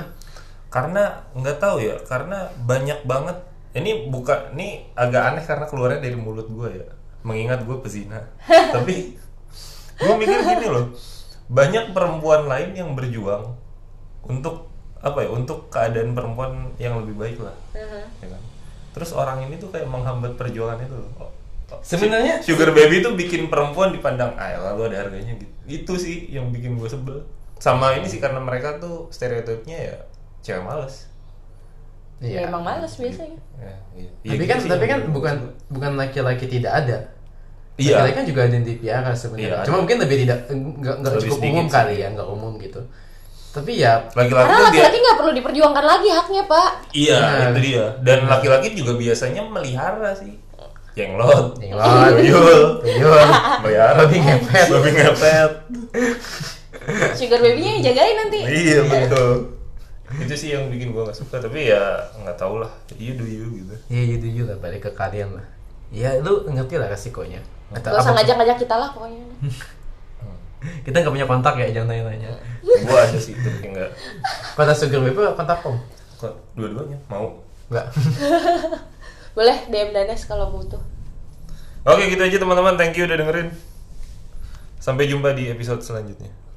karena nggak tahu ya karena banyak banget ini bukan ini agak aneh karena keluarnya dari mulut gue ya mengingat gue pezina tapi gue mikir gini loh banyak perempuan lain yang berjuang untuk apa ya untuk keadaan perempuan yang lebih baik lah Uh-huh. ya kan? terus orang ini tuh kayak menghambat perjuangan itu loh. Oh, oh. Sebenarnya- Si- sugar baby tuh bikin perempuan dipandang ah lalu ada harganya gitu itu sih yang bikin gue sebel sama ini sih karena mereka tuh stereotipnya ya cewek males Iya. Ya, Iya. emang males biasanya. Ya, iya. Ya, tapi gitu kan sih tapi yang kan bikin gua bukan sebel. bukan laki-laki tidak ada Iya. laki-laki kan juga ada yang dipiara Iya, sebenarnya ada. cuma mungkin lebih tidak nggak nggak Lebih cukup sedikit umum sih. kali ya nggak umum gitu tapi ya laki-laki Karena tuh dia laki-laki nggak perlu diperjuangkan lagi haknya, Pak. iya Nah. itu dia dan laki-laki juga biasanya melihara sih jenglot <laughs> Iya. jenglot tuyul tuyul melihara Babi ngepet. babi ngepet Sugar baby-nya yang jagain nanti. iya betul itu sih yang bikin gue gak suka tapi ya nggak tau lah you do you gitu ya gitu juga lah, balik ke kalian lah ya lu ngerti lah resikonya atau Gak usah apa ngajak-ngajak kita lah pokoknya. Hmm. kita nggak punya kontak ya jangan nanya-nanya gue ada sih itu tapi nggak kontak sugar baby apa kontak om kok dua-duanya mau nggak Boleh DM Danes kalau butuh. oke gitu aja teman-teman thank you udah dengerin sampai jumpa di episode selanjutnya